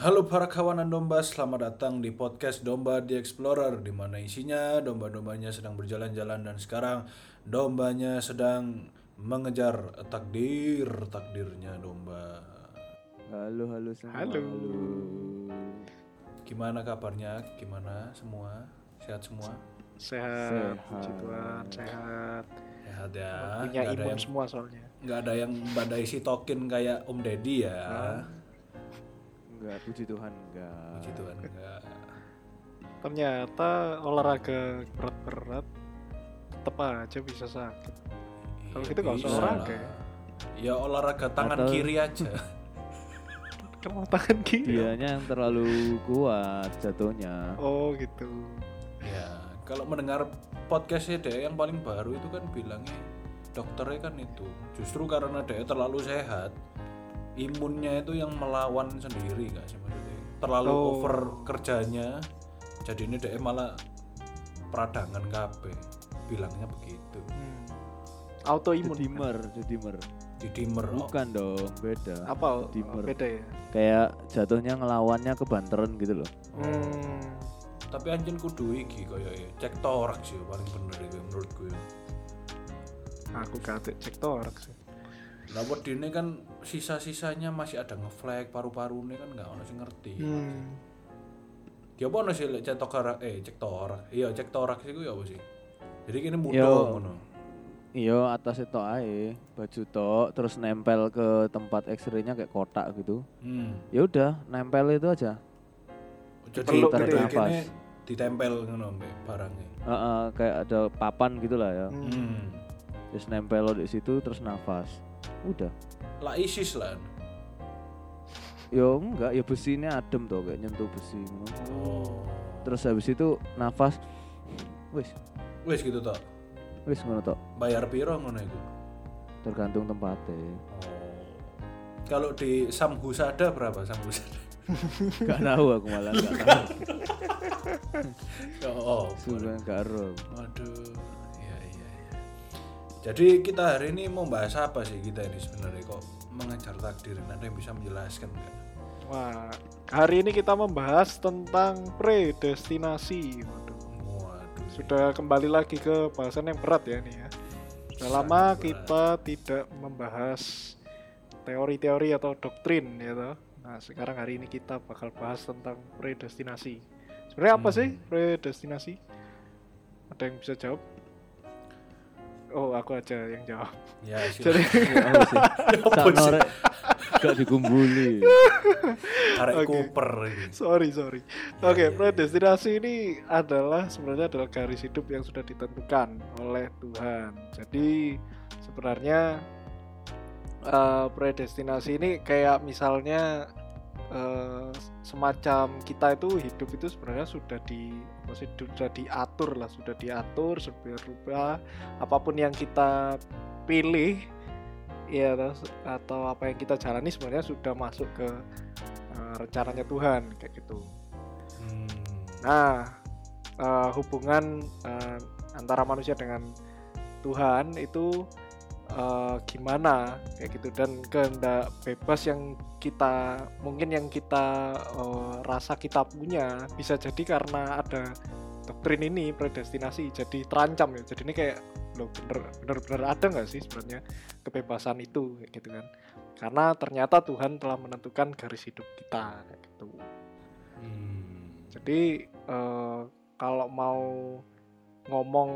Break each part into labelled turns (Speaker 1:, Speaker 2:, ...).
Speaker 1: Halo para kawanan domba, selamat datang di podcast Domba The Explorer di mana isinya domba-dombanya sedang berjalan-jalan dan sekarang dombanya sedang mengejar takdir takdirnya domba.
Speaker 2: Halo, halo semua.
Speaker 3: Halo.
Speaker 1: Gimana kabarnya? Gimana semua? Sehat semua?
Speaker 3: sehat,
Speaker 2: Sehat.
Speaker 3: puji Tuhan, sehat.
Speaker 1: Sehat ya.
Speaker 3: Oh, Punya
Speaker 1: Nggak ada
Speaker 3: imun
Speaker 1: yang-
Speaker 3: semua soalnya.
Speaker 1: nggak ada yang badai si token kayak Om Deddy ya.
Speaker 3: Ah,
Speaker 2: Enggak, puji Tuhan enggak.
Speaker 1: Puji Tuhan enggak.
Speaker 3: Ternyata olahraga berat-berat tetap aja bisa sakit. Kalau gitu nggak usah
Speaker 1: bisa lah.
Speaker 3: olahraga ya.
Speaker 1: Ya olahraga tangan
Speaker 4: Atau-
Speaker 1: kiri aja.
Speaker 3: Kamu tangan kiri.
Speaker 4: Dianya yang terlalu kuat jatuhnya.
Speaker 3: Oh gitu.
Speaker 1: Ya, kalau mendengar podcastnya Dea yang paling baru itu kan bilangnya dokternya kan itu justru karena Dea terlalu sehat imunnya itu yang melawan sendiri nggak sih maksudnya terlalu
Speaker 3: Oh.
Speaker 1: over kerjanya jadi ini Dea malah peradangan KB bilangnya begitu
Speaker 3: Hmm. Autoimun.
Speaker 4: Dimer, dimer.
Speaker 1: di dimer oh,
Speaker 4: Bukan dong, beda.
Speaker 3: Apa? oh,
Speaker 4: Dimer.
Speaker 3: Beda ya.
Speaker 4: Kayak jatuhnya ngelawannya ke banteran gitu loh.
Speaker 3: Hmm.
Speaker 1: tapi anjing kudu iki kaya cek toraks ya paling bener itu menurutku ya.
Speaker 3: Aku kaget cek torak sih.
Speaker 1: Lah wedine kan sisa-sisanya masih ada ngeflek paru-parune kan nggak ono sing ngerti.
Speaker 3: Hmm.
Speaker 1: Ya apa ono sih lek cek torak eh cek torak. Iya cek torak sih ku ya apa sih? Jadi kene
Speaker 4: Yo.
Speaker 1: mudo ngono.
Speaker 4: Iya, atas itu ae, baju tok terus nempel ke tempat X-ray-nya kayak kotak gitu.
Speaker 1: Hmm.
Speaker 4: Ya udah, nempel itu aja.
Speaker 1: Jadi
Speaker 3: Peluk
Speaker 1: jadi
Speaker 3: gitu ya.
Speaker 1: kene ditempel ngono mbek barangnya.
Speaker 4: Eh, eh, kayak ada papan gitu lah ya.
Speaker 3: Hmm.
Speaker 1: Hmm.
Speaker 4: Terus nempel lo di situ terus nafas. Udah.
Speaker 1: Lah ISIS lah.
Speaker 4: Yo enggak, ya besinya adem tuh kayak nyentuh besi. ngono.
Speaker 1: Oh.
Speaker 4: Terus habis itu nafas. Wis,
Speaker 1: Wis gitu tok.
Speaker 4: wis ngono tok.
Speaker 1: Bayar piro ngono iku?
Speaker 4: Tergantung tempatnya.
Speaker 1: Oh. Kalau di Samhusada berapa Samhusada?
Speaker 4: Gak tahu aku malah gak tahu.
Speaker 1: Oh, oh.
Speaker 4: Sumpah gak ero.
Speaker 1: Waduh, iya iya iya. Jadi kita hari ini mau bahas apa sih kita ini sebenarnya kok mengejar takdir? Ada yang bisa menjelaskan nggak?
Speaker 3: Wah, hari ini kita membahas tentang predestinasi. Waduh.
Speaker 1: Waduh.
Speaker 3: sudah kembali lagi ke bahasan yang berat ya ini ya. Sudah
Speaker 1: Sangat
Speaker 3: lama
Speaker 1: berat.
Speaker 3: kita tidak membahas teori-teori atau doktrin ya toh. Nah, sekarang hari ini kita bakal bahas tentang predestinasi. Sebenarnya apa
Speaker 1: Hmm.
Speaker 3: sih predestinasi? Ada yang bisa jawab? Oh, aku aja yang jawab.
Speaker 1: Ya
Speaker 3: Jadi,
Speaker 1: silakan.
Speaker 4: Apa sih?
Speaker 1: Ya, Apa sih?
Speaker 4: Saknore gak digumbuli.
Speaker 1: Karek
Speaker 3: Oke.
Speaker 1: Cooper ini. Iya,
Speaker 3: sorry, sorry. Oke, predestinasi ini adalah sebenarnya adalah garis hidup yang sudah ditentukan oleh Tuhan. Jadi sebenarnya eh, predestinasi ini kayak misalnya eh, semacam kita itu hidup itu sebenarnya sudah di apa sih, sudah diatur lah, sudah diatur supaya rupa apapun yang kita pilih ya terus- atau apa yang kita jalani sebenarnya sudah masuk ke eh, rencananya Tuhan kayak gitu.
Speaker 1: Hmm.
Speaker 3: Nah, eh, hubungan eh, antara manusia dengan Tuhan itu eh, gimana kayak gitu dan kehendak bebas yang kita mungkin yang kita eh, rasa kita punya bisa jadi karena ada doktrin ini predestinasi jadi terancam ya. Jadi ini kayak lo bener bener-bener ada nggak sih sebenarnya kebebasan itu kayak gitu kan? Karena ternyata Tuhan telah menentukan garis hidup kita kayak gitu.
Speaker 1: Hmm.
Speaker 3: Jadi eh, kalau mau ngomong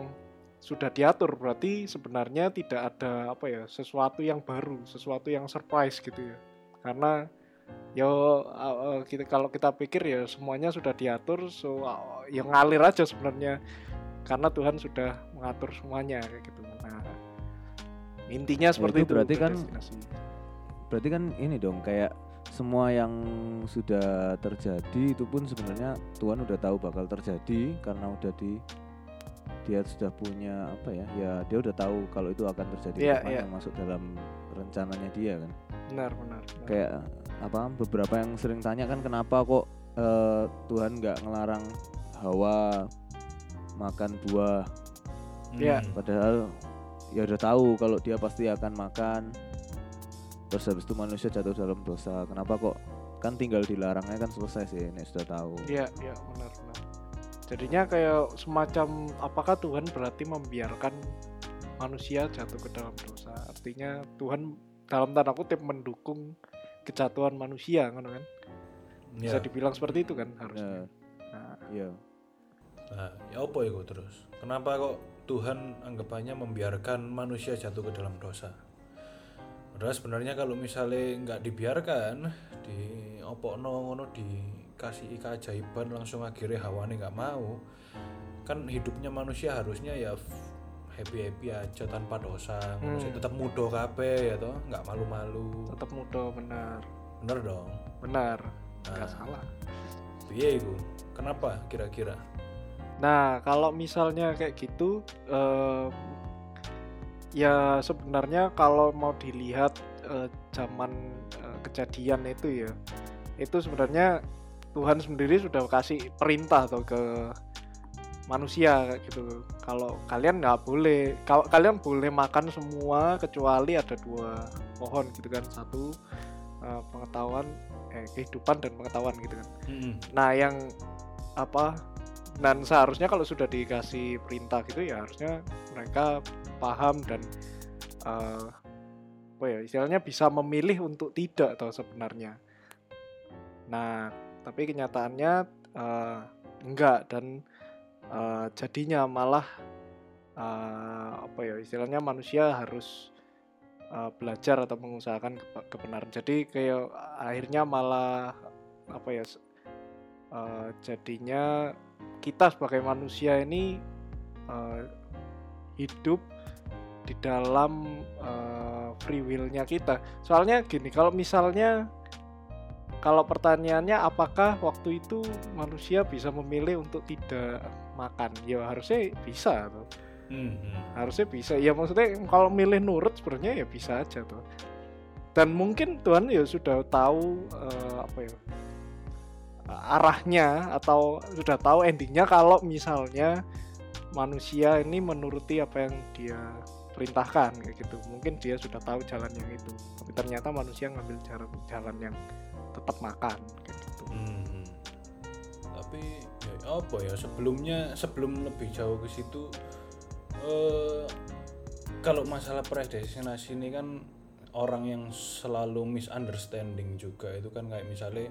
Speaker 3: sudah diatur berarti sebenarnya tidak ada apa ya sesuatu yang baru, sesuatu yang surprise gitu ya. Karena yo eh, eh, kita kalau kita pikir ya semuanya sudah diatur, so eh, ya ngalir aja sebenarnya karena Tuhan sudah mengatur semuanya kayak gitu. Nah, intinya seperti
Speaker 4: itu berarti kan-
Speaker 3: predestinasi.
Speaker 4: Berarti kan ini dong kayak semua yang sudah terjadi itu pun sebenarnya Tuhan udah tahu bakal terjadi karena udah di dia sudah punya apa ya? Ya dia udah tahu kalau itu akan terjadi
Speaker 1: Ya,
Speaker 3: Iya,
Speaker 4: kapan
Speaker 3: iya.
Speaker 4: yang masuk dalam rencananya dia kan.
Speaker 3: benar benar. benar.
Speaker 4: kayak apa beberapa yang sering tanya kan kenapa kok eh, Tuhan nggak ngelarang Hawa makan buah
Speaker 3: Iya.
Speaker 1: Hmm.
Speaker 4: padahal ya udah tahu kalau dia pasti akan makan terus habis itu manusia jatuh dalam dosa kenapa kok kan tinggal dilarangnya kan selesai sih ini sudah tahu
Speaker 3: Iya, iya benar benar. Jadinya kayak semacam apakah Tuhan berarti membiarkan manusia jatuh ke dalam dosa? Artinya Tuhan dalam tanda kutip mendukung kejatuhan manusia kan kan?
Speaker 1: Ya.
Speaker 3: Bisa dibilang seperti itu kan
Speaker 4: Nah,
Speaker 3: harusnya. Nah,
Speaker 4: iya
Speaker 1: Nah, ya apa itu terus? Kenapa kok Tuhan anggapannya membiarkan manusia jatuh ke dalam dosa? Padahal sebenarnya kalau misalnya nggak dibiarkan, di opokno ngono dikasih keajaiban langsung akhirnya hawane nggak mau, kan hidupnya manusia harusnya ya happy happy aja tanpa dosa, ngono sih.
Speaker 3: Hmm.
Speaker 1: tetap muda kabeh ya toh, nggak malu malu,
Speaker 3: tetap muda benar.
Speaker 1: bener dong.
Speaker 3: Benar.
Speaker 1: Nah.
Speaker 3: Enggak salah.
Speaker 1: Iya itu, kenapa kira-kira?
Speaker 3: Nah, kalau misalnya kayak gitu, eh, ya sebenarnya kalau mau dilihat eh, zaman eh, kejadian itu ya, itu sebenarnya Tuhan sendiri sudah kasih perintah tuh ke manusia kayak gitu. Kalau kalian nggak boleh, kalau kalian boleh makan semua kecuali ada dua pohon gitu kan, satu eh, pengetahuan, eh, kehidupan dan pengetahuan gitu kan.
Speaker 1: Mm-mm.
Speaker 3: Nah, yang apa? Dan seharusnya kalau sudah dikasih perintah gitu ya harusnya mereka paham dan eh apa ya istilahnya bisa memilih untuk tidak atau sebenarnya. Nah, tapi kenyataannya eh, enggak dan eh, jadinya malah eh, apa ya istilahnya manusia harus eh, belajar atau mengusahakan kebe- kebenaran. Jadi kayak akhirnya malah apa ya se- eh, jadinya kita sebagai manusia ini eh, hidup di dalam eh, free will-nya kita. Soalnya gini, kalau misalnya kalau pertanyaannya apakah waktu itu manusia bisa memilih untuk tidak makan? Ya harusnya bisa tuh.
Speaker 1: Mm-mm.
Speaker 3: Harusnya bisa. Ya maksudnya kalau milih nurut sebenarnya ya bisa aja tuh. Dan mungkin Tuhan ya sudah tahu eh, apa ya arahnya atau sudah tahu endingnya kalau misalnya manusia ini menuruti apa yang dia perintahkan kayak gitu. Mungkin dia sudah tahu jalan yang itu. Tapi ternyata manusia ngambil jalan jalan yang tetap makan kayak gitu.
Speaker 1: Hmm. Tapi ya apa ya sebelumnya sebelum lebih jauh ke situ eh kalau masalah predestinasi ini kan orang yang selalu misunderstanding juga itu kan kayak misalnya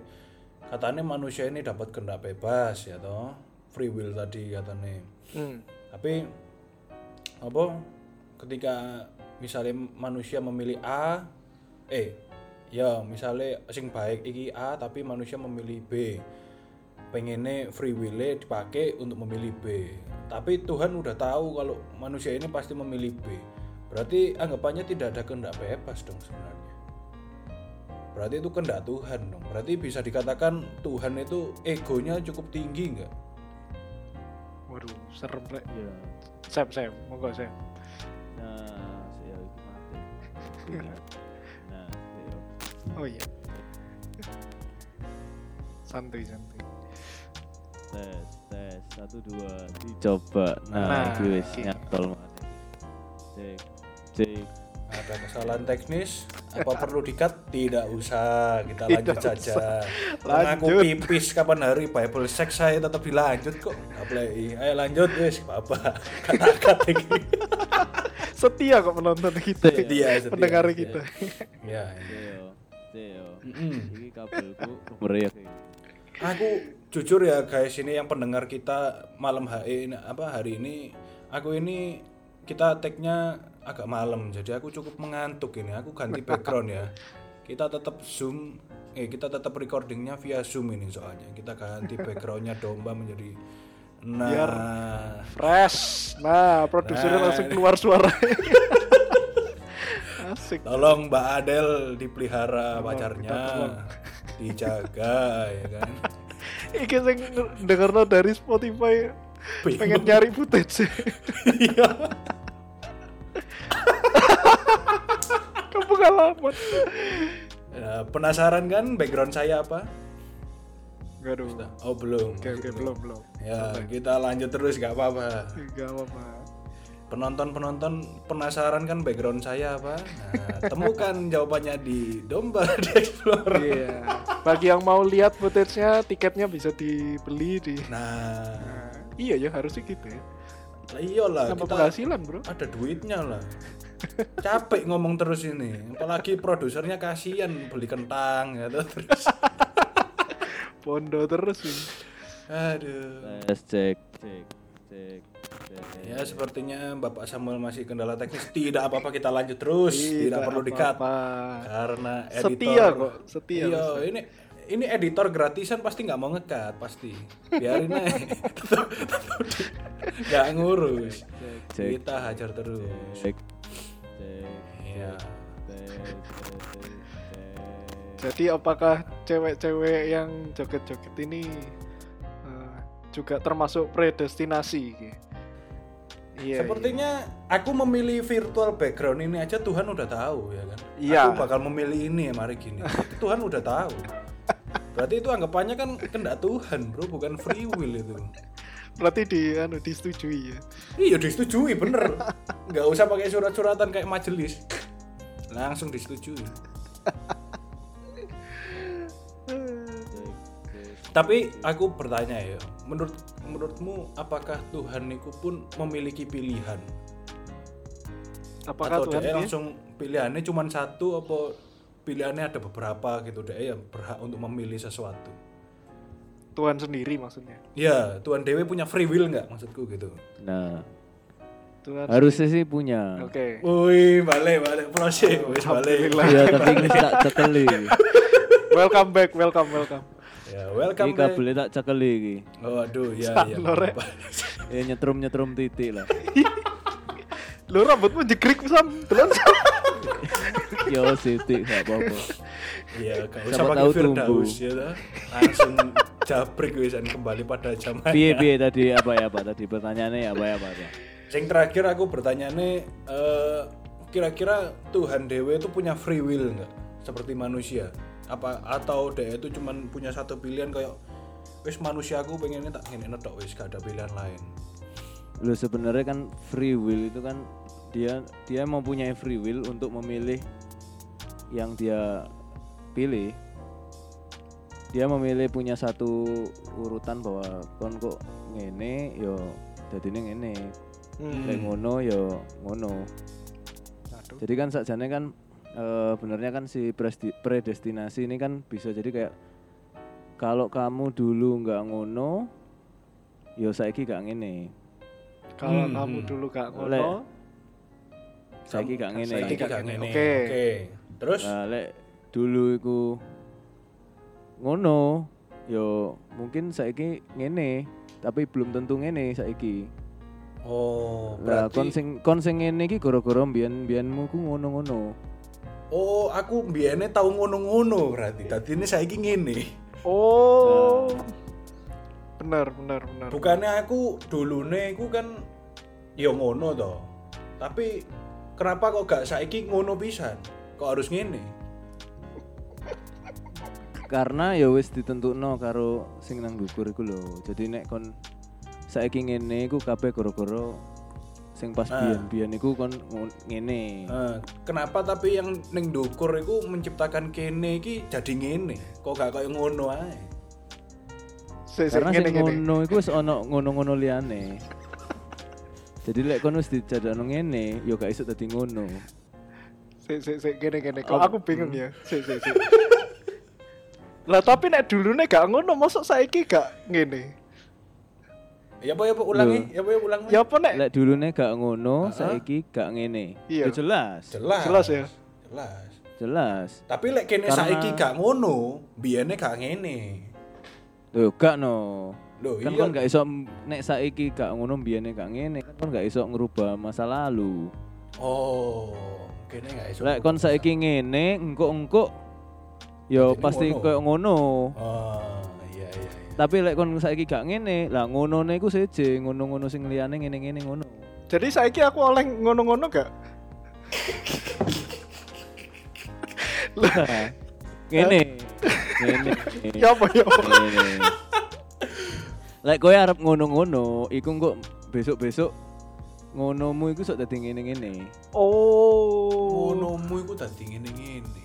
Speaker 1: katanya manusia ini dapat kehendak bebas ya toh free will tadi katanya
Speaker 3: Hmm.
Speaker 1: tapi apa ketika misalnya manusia memilih A eh ya misalnya sing baik iki A tapi manusia memilih B pengennya free will -e dipakai untuk memilih B tapi Tuhan udah tahu kalau manusia ini pasti memilih B berarti anggapannya tidak ada kehendak bebas dong sebenarnya berarti itu kehendak Tuhan dong berarti bisa dikatakan Tuhan itu egonya cukup tinggi nggak
Speaker 3: Waduh, serem rek.
Speaker 4: iya
Speaker 3: Sam, Sam, monggo Sam.
Speaker 4: nah saya itu mati nah saya
Speaker 3: Oh iya. Santuy, santuy.
Speaker 4: tes tes satu dua dicoba
Speaker 3: Nah,
Speaker 4: nah, iki wis
Speaker 3: iki.
Speaker 4: nyantol maneh. cek cek
Speaker 1: ada kesalahan teknis apa perlu dikat tidak usah kita lanjut
Speaker 3: Tidak
Speaker 1: saja
Speaker 3: Lanjut.
Speaker 1: Karena aku pipis kapan hari Bible sex saya tetap dilanjut kok apalagi ayo lanjut wis apa kata-kata ini
Speaker 3: Setia kok penonton kita.
Speaker 1: Setia, setia,
Speaker 3: Pendengar
Speaker 1: setia.
Speaker 3: kita.
Speaker 1: ya ya.
Speaker 4: Ceo, Ceo.
Speaker 1: Mm-mm.
Speaker 4: Iki kabelku merek.
Speaker 1: aku jujur ya guys ini yang pendengar kita malam hari ini apa hari ini aku ini kita tag-nya agak malam jadi aku cukup mengantuk ini aku ganti background ya kita tetap zoom eh kita tetap recordingnya via zoom ini soalnya kita ganti backgroundnya domba menjadi nah
Speaker 3: Fresh. Nah, produsernya
Speaker 1: Nah.
Speaker 3: langsung keluar suara. Asik.
Speaker 1: tolong Mbak Adel dipelihara pacarnya
Speaker 3: kita tolong.
Speaker 1: dijaga ya kan
Speaker 3: Iki sing dengerno dari Spotify
Speaker 1: Bingung.
Speaker 3: pengen nyari footage.
Speaker 1: Iya.
Speaker 3: Kamu kalaman.
Speaker 1: Eh, penasaran kan background saya apa
Speaker 3: Waduh.
Speaker 1: oh belum
Speaker 3: Oke, oke, belum, belum.
Speaker 1: Ya, kita lanjut terus gak apa-apa.
Speaker 3: Enggak apa-apa.
Speaker 1: Penonton-penonton penasaran kan background saya apa? Nah, temukan jawabannya di Domba The Explorer.
Speaker 3: Iya. Bagi yang mau lihat footage-nya, tiketnya bisa dibeli di.
Speaker 1: Nah,
Speaker 3: Nah, iya ya harusnya gitu ya.
Speaker 1: lah iyalah
Speaker 3: Tambah
Speaker 1: kita
Speaker 3: penghasilan bro.
Speaker 1: ada duitnya lah. Capek ngomong terus ini, apalagi produsernya kasihan beli kentang gitu terus.
Speaker 3: Pondo terus ini.
Speaker 1: Aduh.
Speaker 4: Tes cek cek cek. cek.
Speaker 1: Ya sepertinya Bapak Samuel masih kendala teknis. Tidak apa-apa kita lanjut terus. Tidak, perlu di-cut.
Speaker 3: apa-apa.
Speaker 1: Karena editor
Speaker 3: Setia kok, setia.
Speaker 1: Iya,
Speaker 3: Mas.
Speaker 1: ini ini editor gratisan pasti nggak mau ngekat pasti biarin aja Tetep- tetep di- nggak ngurus
Speaker 4: cek,
Speaker 1: kita hajar terus
Speaker 4: Cek cek
Speaker 1: Iya.
Speaker 4: cek cek cek.
Speaker 3: Jadi apakah cewek-cewek yang joget-joget ini eh, juga termasuk predestinasi? Ki? Iya.
Speaker 1: sepertinya aku memilih virtual background ini aja Tuhan udah tahu ya kan
Speaker 3: Iya.
Speaker 1: aku bakal memilih ini ya mari gini Itu Tuhan udah tahu berarti itu anggapannya kan kendak Tuhan bro bukan free will itu
Speaker 3: iya. Berarti di anu disetujui ya.
Speaker 1: iya disetujui bener nggak usah pakai surat-suratan kayak majelis langsung disetujui Tapi aku bertanya ya, menurut menurutmu apakah Tuhan itu pun memiliki pilihan?
Speaker 3: Apakah
Speaker 1: Atau
Speaker 3: Tuhan
Speaker 1: dia
Speaker 3: dia-
Speaker 1: langsung pilihannya cuma satu apa pilihannya ada beberapa gitu dia yang berhak untuk memilih sesuatu.
Speaker 3: Tuhan sendiri maksudnya?
Speaker 1: Ya, Tuhan Dewi punya free will nggak maksudku gitu.
Speaker 4: Nah,
Speaker 3: Tuhan.
Speaker 4: harusnya sih punya.
Speaker 3: Oke.
Speaker 1: Woi, balik balik proses,
Speaker 3: Oh,
Speaker 1: wis balik.
Speaker 3: Alhamdulillah.
Speaker 4: Iya, tapi ini tak cekeli. iki.
Speaker 3: welcome back, welcome, welcome.
Speaker 1: Ya,
Speaker 4: Iki
Speaker 1: welcome back.
Speaker 4: kabelnya tak cekeli iki.
Speaker 1: Oh, aduh, ya ya.
Speaker 3: Lorek.
Speaker 4: Ya nyetrum-nyetrum titik lah.
Speaker 3: Lu rambutmu jegrik sam, telan Sam.
Speaker 4: Yo titik enggak apa-apa.
Speaker 1: Ya, gak usah
Speaker 4: Siapa
Speaker 1: pakai
Speaker 4: tahu
Speaker 1: Firdaus ya toh. Langsung jabrik wisan kembali pada zaman.
Speaker 4: Piye piye tadi apa ya Pak? Tadi pertanyaannya ya apa ya Pak?
Speaker 1: Yang terakhir aku bertanya nih, eh, kira-kira Tuhan Dewa itu punya free will nggak? Seperti manusia? Apa atau dia itu cuman punya satu pilihan kayak wis manusia aku pengennya tak ngene tok wis gak ada pilihan lain.
Speaker 4: Lu sebenarnya kan free will itu kan dia dia mempunyai free will untuk memilih yang dia pilih. Dia memilih punya satu urutan bahwa kon kok ngene yo dadine ngene. Lek ngono yo ngono.
Speaker 3: Aduh.
Speaker 4: Jadi kan sakjane kan eh benernya kan si presti- predestinasi ini kan bisa jadi kayak kalau kamu dulu nggak ngono, yo saiki gak ngene.
Speaker 3: Kalau
Speaker 1: Hmm.
Speaker 3: kamu dulu gak
Speaker 4: Lek.
Speaker 3: ngono,
Speaker 4: Saiki gak ngene.
Speaker 1: Saiki
Speaker 3: gak
Speaker 1: gak ngene.
Speaker 3: Oke.
Speaker 1: Oke. Terus
Speaker 4: Nah, lek dulu iku ngono, yo mungkin saiki ngene, tapi belum tentu ngene saiki.
Speaker 1: oh,
Speaker 4: Lah
Speaker 1: berarti
Speaker 4: kon sing kon sing ngene iki gara-gara mbiyen-mbiyenmu ku ngono-ngono.
Speaker 1: oh, aku mbiyene tau ngono-ngono berarti. Dadi ini saiki ngene.
Speaker 3: oh, benar, benar, benar.
Speaker 1: Bukannya aku dulune aku kan ya ngono toh. Tapi kenapa kok gak saiki ngono pisan? Kok harus ngene?
Speaker 4: karena ya wis ditentukno karo sing nang dhuwur iku lho. Jadi nek kon saiki ngene iku kabeh gara-gara sing pas
Speaker 1: Ah.
Speaker 4: biyen-biyen iku kon ngun- ngene.
Speaker 1: Eh, kenapa tapi yang ning dukur itu menciptakan kene iki jadi ngene kok gak koyo ngono ae
Speaker 3: Se- se-
Speaker 4: Karena sing
Speaker 3: ngene-ngene.
Speaker 4: ngono iku wis ana ngono-ngono liyane. Jadi lek kon wis dijadakno ngene ya gak iso dadi ngono.
Speaker 3: Sik sik sik gini gini. Kok aku bingung ya. Sik sik sik. lah tapi nek dulune gak ngono mosok saiki gak ngene.
Speaker 1: ya apa ya apa ulangi ya apa ya ulang
Speaker 3: Ya apa nek
Speaker 4: Lek dulune gak ngono, saiki gak ngene.
Speaker 3: Iya.
Speaker 4: Ya jelas,
Speaker 1: jelas
Speaker 3: jelas ya.
Speaker 1: jelas
Speaker 4: jelas.
Speaker 1: tapi lek kene
Speaker 4: Karena-
Speaker 1: saiki gak ngono biyene gak ngene
Speaker 4: Lho gak no.
Speaker 1: lho
Speaker 4: kan
Speaker 1: iya
Speaker 4: kon gak iso m- nek saiki gak ngono biyene gak ngene kan kon gak iso ngerubah masa lalu
Speaker 1: oh kene gak iso
Speaker 4: lek kon saiki ngene engkok-engkok ya
Speaker 1: Jadi
Speaker 4: pasti
Speaker 1: ngono.
Speaker 4: koyo ngono
Speaker 1: oh iya iya iya
Speaker 4: tapi lek kon saiki gak ngene lah ngonone iku seje ngono-ngono sing liyane ngene-ngene ngono
Speaker 3: Jadi saiki aku oleh ngono-ngono gak?
Speaker 4: ngene ngene
Speaker 3: Ya apa ya apa?
Speaker 4: ngene lek kowe arep ngono-ngono iku engko besok-besok ngonomu itu sok dadi ngene-ngene.
Speaker 3: Oh.
Speaker 1: ngonomu iku dadi ngene-ngene.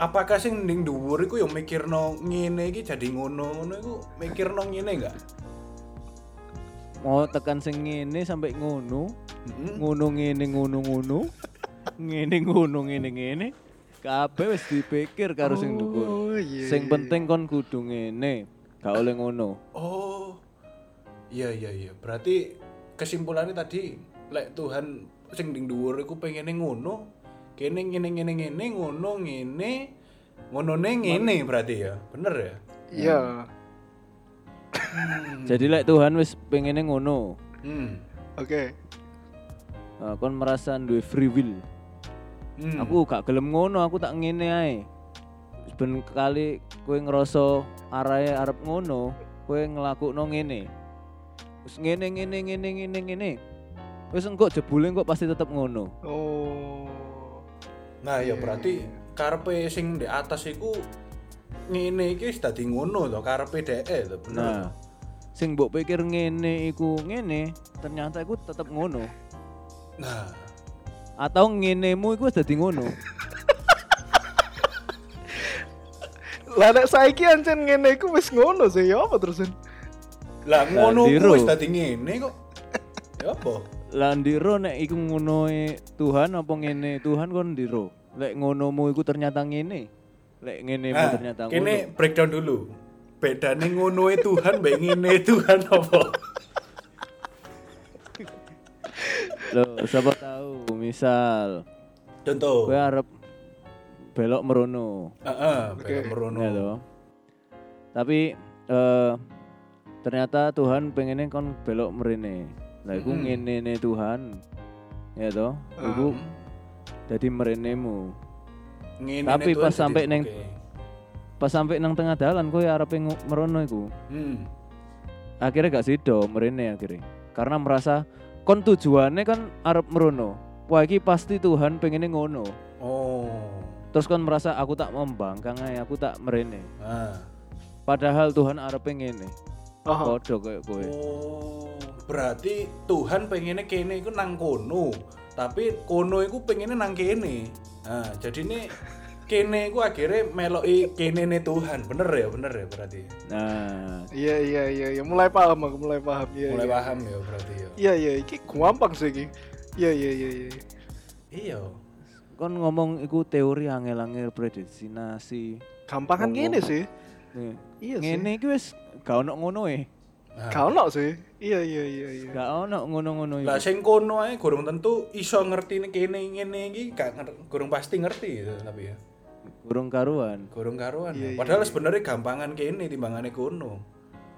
Speaker 1: Apakah sing ning dhuwur iku ya mikirno ngene iki jadi ngono ngono iku mikirno ngene enggak?
Speaker 4: Mau tekan sing ngene sampai ngono,
Speaker 1: Heeh.
Speaker 4: ngono ngene ngono ngono. Ngene ngono ngene ngene. Kabeh wis dipikir karo sing dhuwur.
Speaker 3: Oh, iya,
Speaker 4: Sing
Speaker 3: iya,
Speaker 4: penting kon kudu ngene, gak oleh ngono.
Speaker 1: Oh. Iya iya iya. Berarti kesimpulannya tadi lek Tuhan sing ning dhuwur iku pengene ngono, kene ngene ngene ngene ngono ngene ngonone ngene berarti ya. Bener ya?
Speaker 3: Iya. Hmm.
Speaker 4: Jadi lek Tuhan wis pengene ngono,
Speaker 1: Hmm.
Speaker 3: Oke.
Speaker 4: eh, kon merasa duwe free will.
Speaker 1: Hmm.
Speaker 4: Aku gak gelem ngono, aku tak ngene ae. Ben kali kowe ngerasa arahe arep ngono, kowe nglakukno ngene. Wis ngene ngene ngene ngene ngene. Wis engko jebule engko pasti tetep ngono.
Speaker 3: Oh.
Speaker 1: Nah, ya berarti karepe sing di atas iku ngene iki wis dadi ngono to karepe dhek to, bener.
Speaker 4: Nah, sing mbok pikir ngene iku ngene, ternyata iku tetep ngono.
Speaker 1: Nah.
Speaker 4: Atau ngenemu iku wis dadi ngono.
Speaker 3: Lah nek saiki ancen ngene iku wis ngono sih ya apa terusan?
Speaker 1: Lah ngono ku
Speaker 4: niru.
Speaker 1: wis dadi ngene kok. Ya apa?
Speaker 4: Lah ndiro nek iku ngonoe Tuhan apa ngene? Tuhan kon ndiro. Lek ngonomu iku ternyata ngene. Lek ngenemu
Speaker 1: Nah,
Speaker 4: ternyata ngono.
Speaker 1: kene breakdown dulu. Bedane ngonoe Tuhan mbek ngene e Tuhan apa?
Speaker 4: Loh, siapa tahu misal
Speaker 1: Contoh.
Speaker 4: gue arep belok merono.
Speaker 1: Heeh,
Speaker 3: Oke.
Speaker 1: belok merono.
Speaker 4: Ya toh. Tapi eh ternyata Tuhan pengennya kon belok merene. Lah iku
Speaker 1: Mm.
Speaker 4: ngene ngene Tuhan. Ya toh. Iku
Speaker 1: Hmm.
Speaker 4: jadi merenemu.
Speaker 1: Ngene e
Speaker 4: Tapi
Speaker 1: Tuhan
Speaker 4: pas
Speaker 1: jadi-
Speaker 4: sampai neng-
Speaker 1: oke.
Speaker 4: Pas sampai nang tengah dalan kowe arepe ngu- merono iku.
Speaker 1: Hmm.
Speaker 4: Akhirnya gak sido merene akhirnya. Karena merasa kon tujuannya kan arep merono. Wah iki pasti Tuhan pengennya ngono.
Speaker 1: Oh.
Speaker 4: Terus kon merasa aku tak membangkang ae, aku tak merene.
Speaker 1: Ah.
Speaker 4: Padahal Tuhan arepe ngene.
Speaker 3: Oh.
Speaker 4: Padha koyo kowe.
Speaker 1: Oh, berarti Tuhan pengennya kene iku nang kono. Tapi kono iku pengennya nang kene. Nah, jadi ini kene iku akhirnya meloki kene nih Tuhan. Bener ya, bener ya berarti.
Speaker 4: Nah,
Speaker 3: Iya iya iya iya mulai paham aku mulai paham iya.
Speaker 1: Mulai
Speaker 3: iya.
Speaker 1: paham ya berarti ya.
Speaker 3: Iya iya iki gampang sih iki. Iya iya iya iya.
Speaker 1: Iya.
Speaker 4: kon ngomong iku teori angel-angel predestinasi.
Speaker 3: Gampang kan ngene sih.
Speaker 4: Nih,
Speaker 3: Iya sih.
Speaker 4: Ngene iki wis gak ono ngono e.
Speaker 1: Nah,
Speaker 3: Gak ono sih. Iya iya iya iya.
Speaker 4: Gak ono ngono-ngono e.
Speaker 1: lah
Speaker 4: iki.
Speaker 1: sing kono ae gurung tentu iso ngerti nih kene ngene iki gak nger- gurung pasti ngerti gitu, tapi ya.
Speaker 4: Burung karuan.
Speaker 1: Gurung karuan. ya.
Speaker 3: Iya, iya,
Speaker 1: Padahal sebenarnya gampangan kene timbangane kono.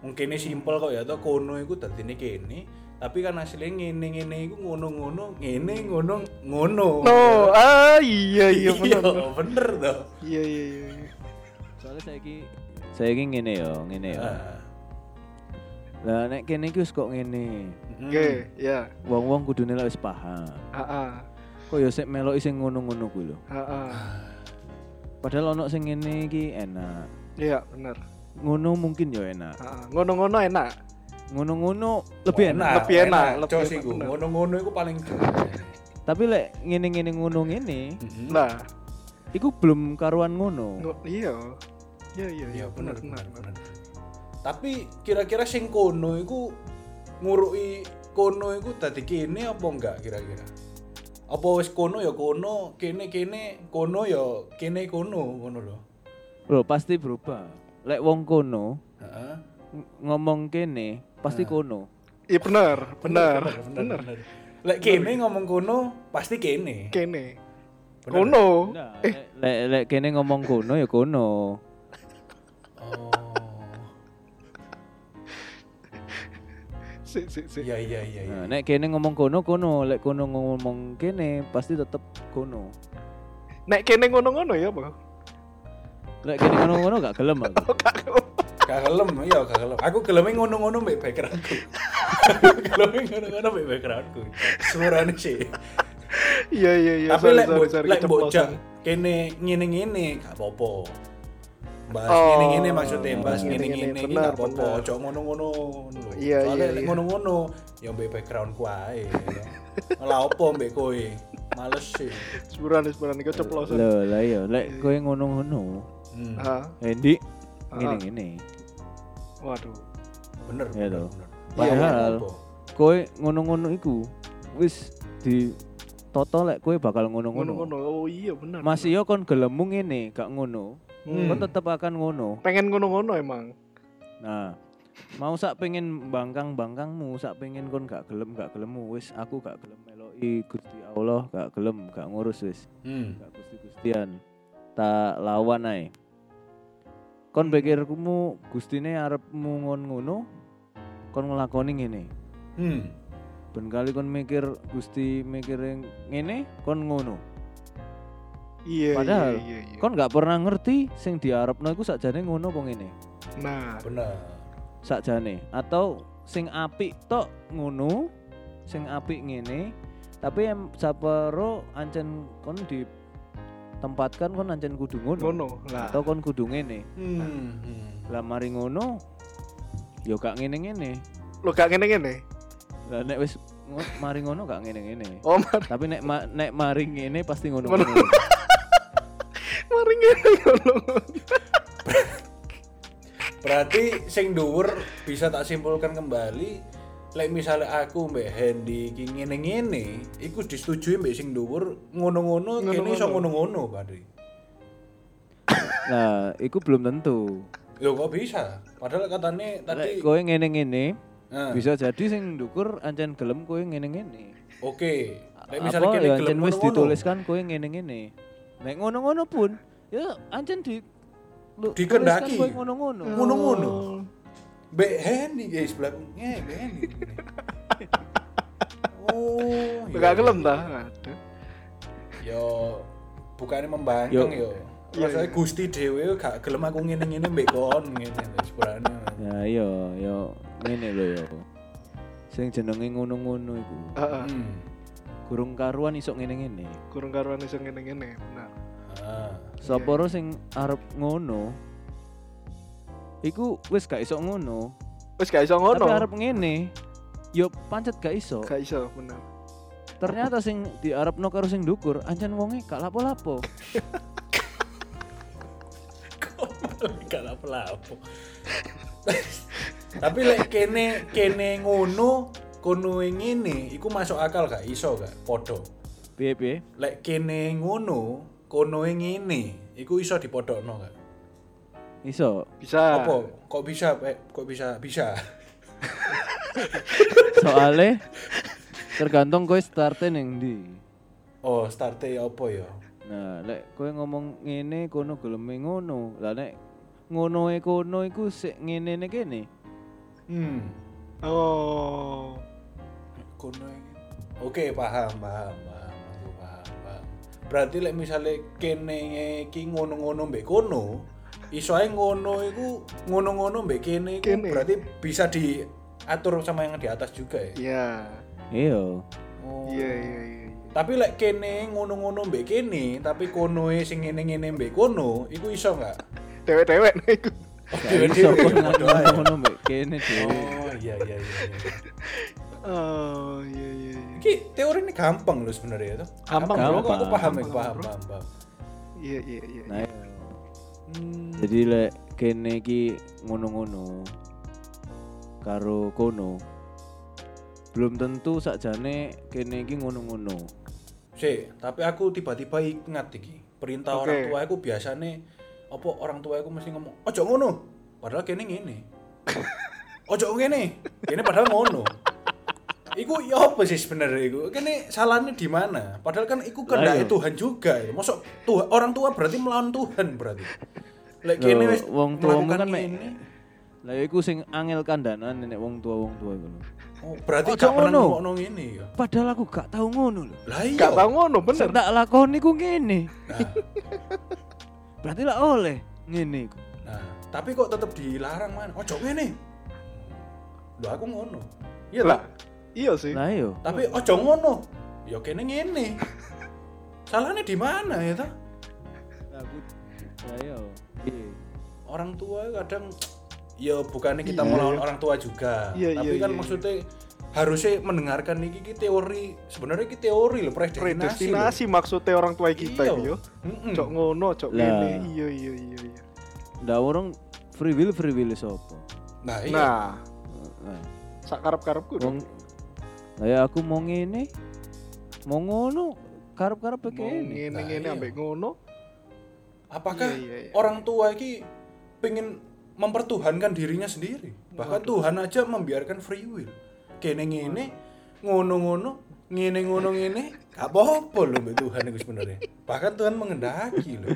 Speaker 1: Mungkin ini simpel kok ya to kono iku dadine kene, tapi kan hasilnya ngene-ngene iku ngono-ngono, ngene ngono ngono.
Speaker 3: No, ah iya iya bener.
Speaker 1: Iya, Hmm. bener to.
Speaker 3: Iya iya iya. iya.
Speaker 4: Soalnya saiki saiki ngene yo, ngene yo.
Speaker 1: Ah.
Speaker 4: Lah nek kene iki wis kok ngene.
Speaker 1: Mm.
Speaker 3: Oke, ya.
Speaker 4: Wong-wong kudune lah wis paham.
Speaker 3: Heeh.
Speaker 4: Kok yo sik meloki sing ngono-ngono kuwi lho.
Speaker 3: Heeh.
Speaker 4: Padahal ono sing ngene iki enak.
Speaker 3: Iya, bener.
Speaker 4: Ngono mungkin yo enak.
Speaker 3: Heeh. Ngono-ngono enak.
Speaker 4: Ngono-ngono lebih enak.
Speaker 3: lebih enak, lebih
Speaker 1: Cos
Speaker 3: enak,
Speaker 1: iku.
Speaker 3: bener.
Speaker 1: Ngono-ngono iku paling
Speaker 4: Tapi lek ngene-ngene ngono ngene,
Speaker 1: Mm-mm.
Speaker 3: Nah,
Speaker 4: iku belum karuan ngono.
Speaker 3: ngo- iya. Iya iya iya
Speaker 1: Iya bener
Speaker 3: bener
Speaker 1: bener
Speaker 3: bener.
Speaker 1: bener. Tapi kira-kira sing kono iku nguruki kono iku dadi kene apa enggak kira-kira? Apa wis kono ya kono, kene kene, kono ya kene kono ngono lho.
Speaker 4: Loh, pasti berubah. Lek wong kono
Speaker 1: Heeh.
Speaker 4: ng- ngomong kene, pasti kono.
Speaker 3: Iya bener, bener.
Speaker 1: bener. Lek kene ngomong kono pasti kene.
Speaker 3: Kene.
Speaker 1: Bener.
Speaker 3: Kono.
Speaker 4: Nah, lek- lek lek kene ngomong kono ya kono.
Speaker 1: Oh.
Speaker 3: Sik sik sik.
Speaker 1: Iya iya iya iya.
Speaker 4: Nah, nek kene ngomong kono kono, lek kono ngomong kene pasti tetep kono.
Speaker 3: Nek kene ngono-ngono ya, Bang.
Speaker 4: Lek kene ngono-ngono gak gelem aku.
Speaker 1: Gak gelem, iya gak gelem. Aku geleme ngono-ngono mbek backgroundku. Aku geleme ngono-ngono mbek backgroundku. Suarane sih.
Speaker 3: Iya iya iya.
Speaker 1: tapi
Speaker 3: sorry,
Speaker 1: lek
Speaker 3: sorry,
Speaker 1: mbok-
Speaker 3: sorry,
Speaker 1: lek
Speaker 3: keceplosan.
Speaker 1: bocah kene ngene-ngene gak apa-apa bahas
Speaker 3: Oh.
Speaker 1: ini ini maksudnya bahas
Speaker 3: Ngene-ngene,
Speaker 1: ini ini ini
Speaker 3: benar,
Speaker 1: nggak apa-apa
Speaker 3: benar.
Speaker 1: ojo ngono-ngono ngono.
Speaker 3: Iya,
Speaker 1: Soalnya
Speaker 3: iya,
Speaker 1: lek
Speaker 3: iya.
Speaker 1: ngono-ngono ya mbek background ku ae ya. Lah opo mbek kowe males sih
Speaker 3: Seburan seburan iki ceplosan.
Speaker 4: Lho, lah iya, lek kowe ngono-ngono,
Speaker 1: hmm.
Speaker 3: Heeh.
Speaker 4: Endi
Speaker 3: Ah.
Speaker 4: ngene-ngene.
Speaker 3: Waduh.
Speaker 1: bener
Speaker 4: Iya
Speaker 1: bener,
Speaker 4: toh.
Speaker 1: bener. Iya,
Speaker 4: Padahal
Speaker 1: Opo?
Speaker 4: kowe ngono-ngono iku wis di toto lek kowe bakal ngono-ngono.
Speaker 3: Ngono-ngono. Oh iya benar.
Speaker 4: Masih yo kon gelemung ngene, gak ngono.
Speaker 3: Hmm.
Speaker 4: Kon tetep akan ngono.
Speaker 3: pengen ngono-ngono emang.
Speaker 4: Nah, mau sak pengen bangkang-bangkangmu, sak pengen kon gak gelem gak gelemu wis aku gak gelem meloki Gusti Allah, gak gelem gak ngurus wis.
Speaker 1: hmm.
Speaker 4: Gak gusti-gustian. Tak lawan ae. Kon pikirmu gustine arepmu ngon ngono, kon nglakoni ngene.
Speaker 1: hmm.
Speaker 4: Ben kali kon mikir Gusti mikir ngene, kon ngono.
Speaker 3: Iya,
Speaker 4: Padahal,
Speaker 3: iya, iya, iya.
Speaker 4: Kon gak pernah ngerti sing diarepno iku sakjane ngono apa ngene.
Speaker 3: Nah,
Speaker 1: bener
Speaker 4: Sakjane atau sing apik tok ngono, sing apik ngene, tapi yang sapero ancen kon ditempatkan kon ancen kudu ngono.
Speaker 3: ngono lah.
Speaker 4: atau kon kudu ngene
Speaker 1: hmm. hmm.
Speaker 4: lah mari ngono yo gak ngene ngene
Speaker 3: Lo gak ngene-ngene.
Speaker 4: lah nek wis ngo- mari ngono gak ngene ngene
Speaker 3: Oh, mari
Speaker 4: tapi nek ma- nek mari ngene pasti ngono
Speaker 3: Ngono.
Speaker 4: ngono
Speaker 3: mari ngene ngono.
Speaker 1: berarti sing dhuwur bisa tak simpulkan kembali lek misalnya aku mbek Hendy iki ngene-ngene iku disetujui mbek sing dhuwur ngono-ngono kene iso ngono-ngono padahal
Speaker 4: nah iku belum tentu
Speaker 1: Loh kok bisa? Padahal katanya
Speaker 4: lek
Speaker 1: tadi Ah.
Speaker 4: kowe ngene ngene
Speaker 1: Nah,
Speaker 4: bisa jadi sing ndukur ancen gelem kowe ngene ngene
Speaker 1: Oke. Lek misalnya
Speaker 4: apa
Speaker 1: kene
Speaker 4: ya
Speaker 1: gelem
Speaker 4: ancen wis
Speaker 1: ngono-ngono,
Speaker 4: dituliskan kowe ngene ngene nek ngono ngono pun ya ancen di lu-
Speaker 1: Dikendaki. Oh.
Speaker 4: tuliskan kowe ngono ngono
Speaker 1: Ngono-ngono. Mbek Hendy guys sebelah nge Mbek Hendy. Oh.
Speaker 3: Lo
Speaker 1: iya.
Speaker 3: gak gelem ta? Aduh.
Speaker 1: Yo bukannya membangkang yo. Rasanya Gusti dhewe gak gelem aku ngene-ngene mbek kon ngene sebenarnya.
Speaker 4: ya yo yo ngene lho yo sing jenenge ngono-ngono iku
Speaker 3: Heeh.
Speaker 1: Hmm.
Speaker 4: gurung karuan isok ngene-ngene
Speaker 3: Kurang karuan iso ngene-ngene. Benar.
Speaker 1: Ah.
Speaker 4: sapa ro sing arep ngono iku wis gak isok ngono
Speaker 3: Wis gak iso
Speaker 4: tapi
Speaker 3: ngono.
Speaker 4: arep ngene yo pancet gak iso
Speaker 3: Gak iso, benar.
Speaker 4: ternyata sing diarepno karo sing dukur ancen wonge gak lapo-lapo
Speaker 1: Gak apa-apa. Tapi lek kene kene ngono kono ngene iku masuk akal gak iso gak podo.
Speaker 4: piye piye
Speaker 1: Lek kene ngono kono ngene iku iso dipodokno gak?
Speaker 4: iso
Speaker 3: Bisa.
Speaker 1: Apa? Kok bisa eh, kok bisa bisa?
Speaker 4: soale tergantung kowe starte ning ndi
Speaker 1: Oh, starte apa ya?
Speaker 4: Nah, lek kowe ngomong ngene kono geleme ngono. Lah nek ngonoe kono iku sik ngene ne kene.
Speaker 1: Hmm.
Speaker 3: Oh.
Speaker 1: Kono ya. ngene. Oke, paham, paham, paham. Aku paham, paham. Berarti lek misale kene iki ngono-ngono mbek kono, iso ae ngono iku ngono-ngono mbek kene iku
Speaker 3: Kene.
Speaker 1: berarti bisa diatur sama yang di atas juga ya.
Speaker 3: Iya.
Speaker 4: Iya.
Speaker 1: Oh.
Speaker 3: Iya, iya, iya. iya.
Speaker 1: Tapi lek kene ngono-ngono mbek kene, tapi konoe sing ngene-ngene mbek kono, iku iso nggak?
Speaker 3: Dewek-dewek nih iku.
Speaker 1: Dewe-
Speaker 4: Gak iso
Speaker 1: dewe.
Speaker 4: kon ngomong ngono mbek kene dhewe.
Speaker 1: Oh, iya iya iya. iya.
Speaker 3: Oh, iya, iya, iya.
Speaker 1: Iki teori ini gampang loh sebenarnya itu.
Speaker 3: Gampang,
Speaker 1: Bro.
Speaker 4: Gampang.
Speaker 1: Kok aku paham, aku
Speaker 3: Gampang,
Speaker 1: paham,
Speaker 3: bro.
Speaker 1: paham, paham.
Speaker 3: Iya, iya, iya.
Speaker 4: Nah, iya.
Speaker 1: Hmm.
Speaker 4: jadi lek kene iki ngono-ngono karo kono belum tentu sakjane kene iki ngono-ngono.
Speaker 1: Sih, tapi aku tiba-tiba ingat iki. Perintah
Speaker 3: Oke.
Speaker 1: orang tua aku biasanya apa orang tua aku mesti ngomong, "Ojo ngono." Padahal kene ngene. Ojo ngene. Kene padahal ngono. Iku ya apa sih sebenarnya iku? Kene salahnya di mana? Padahal kan iku kehendak
Speaker 4: Lah, iya.
Speaker 1: Tuhan juga. Ya. Mosok Tuhan, orang tua berarti melawan Tuhan berarti. Lek kene
Speaker 4: Loh,
Speaker 1: wis
Speaker 4: wong tuamu
Speaker 1: melakukan
Speaker 4: kan mek-
Speaker 1: ini,
Speaker 4: Lah iku sing angel kandanan nek wong tua-wong tua iku. lho.
Speaker 1: oh, berarti
Speaker 4: Ojo
Speaker 1: gak pernah
Speaker 4: ngono.
Speaker 1: ngomong ngene ya.
Speaker 4: Padahal aku gak tau ngono lho.
Speaker 1: Lah iya.
Speaker 3: Gak tau ngono bener.
Speaker 4: Sing tak lakoni ku ngene.
Speaker 1: Nah,
Speaker 4: Berarti lah oleh ngene iku.
Speaker 1: Nah, tapi kok tetap dilarang man. Ojo ngene. Lho aku ngono. Iya
Speaker 3: Lah,
Speaker 1: lah.
Speaker 3: iya sih.
Speaker 4: Lah yo.
Speaker 1: Tapi ojo ngono. Ya kene ngene. Salahnya di mana ya ta?
Speaker 4: Lah, aku- lah, yo. Iya.
Speaker 1: orang tua kadang ya bukannya kita melawan orang tua juga
Speaker 3: Iya,
Speaker 1: tapi
Speaker 3: iya,
Speaker 1: kan
Speaker 3: iya,
Speaker 1: maksudnya harusnya mendengarkan ini ki teori sebenarnya ki teori loh predestinasi loh.
Speaker 3: predestinasi maksudnya orang tua kita
Speaker 1: Iya.
Speaker 3: iki yo
Speaker 1: Mm-mm.
Speaker 3: cok ngono cok
Speaker 4: Lah.
Speaker 3: ngene iya iya iya iya
Speaker 4: Ndak orang free will free will sopo.
Speaker 1: nah iya
Speaker 3: nah
Speaker 4: Nah,
Speaker 3: sak karep-karepku
Speaker 4: wong
Speaker 3: dong
Speaker 4: Lah ya aku mau ngene. Mau ngono karep-karep kayak ini.
Speaker 3: ngene
Speaker 1: Nah,
Speaker 3: ngene
Speaker 1: iya.
Speaker 3: ambek ngono
Speaker 1: apakah
Speaker 3: Iya, iya, iya.
Speaker 1: orang tua ki pengen mempertuhankan dirinya sendiri bahkan Tuhan aja membiarkan free will kene ngene ngono ngono ngene ngono ngene gak apa-apa loh mbak Tuhan itu sebenarnya bahkan Tuhan mengendaki loh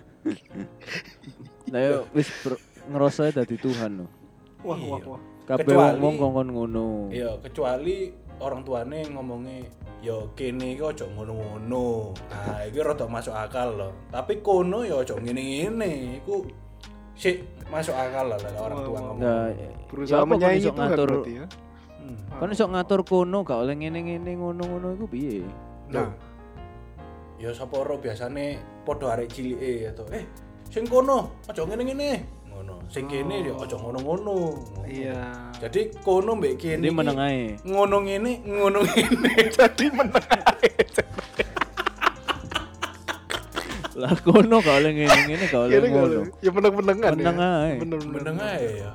Speaker 4: Lah ya wis ber- ngerasa dadi Tuhan loh.
Speaker 3: wah
Speaker 1: Iya.
Speaker 3: wah wah
Speaker 4: Kabeh
Speaker 1: Kecuali-
Speaker 4: wong kongkon ngono.
Speaker 1: ya kecuali orang tuane ngomongnya yo kene iki ojo ngono-ngono nah iki rada masuk akal loh tapi kono ya ojo ngene-ngene iku sik masuk akal lah lah orang tua
Speaker 3: Wah, iya.
Speaker 1: ngomong
Speaker 4: Nah,
Speaker 3: berusaha
Speaker 4: apa kon
Speaker 3: menyaingi
Speaker 4: iso
Speaker 3: Tuhan
Speaker 4: ngatur
Speaker 3: berarti ya
Speaker 1: Hmm.
Speaker 4: Kan iso ngatur kono gak oleh ngene-ngene ngono-ngono iku piye?
Speaker 1: Nah.
Speaker 3: nah
Speaker 1: ya sapa ora biasane padha arek cilike atau eh sing kono aja ngene-ngene ngono sing kene ya aja ngono-ngono Ngono.
Speaker 3: iya
Speaker 1: jadi kono mbek kene
Speaker 4: Jadi
Speaker 1: iki
Speaker 4: meneng ae.
Speaker 1: ngono ngene ngono ngene
Speaker 3: jadi menang
Speaker 4: Lah kono gak oleh ngene-ngene gak oleh
Speaker 3: Kene nggak
Speaker 4: ngono.
Speaker 3: lu? ya menang menengan
Speaker 4: Meneng ae.
Speaker 1: bener ae ya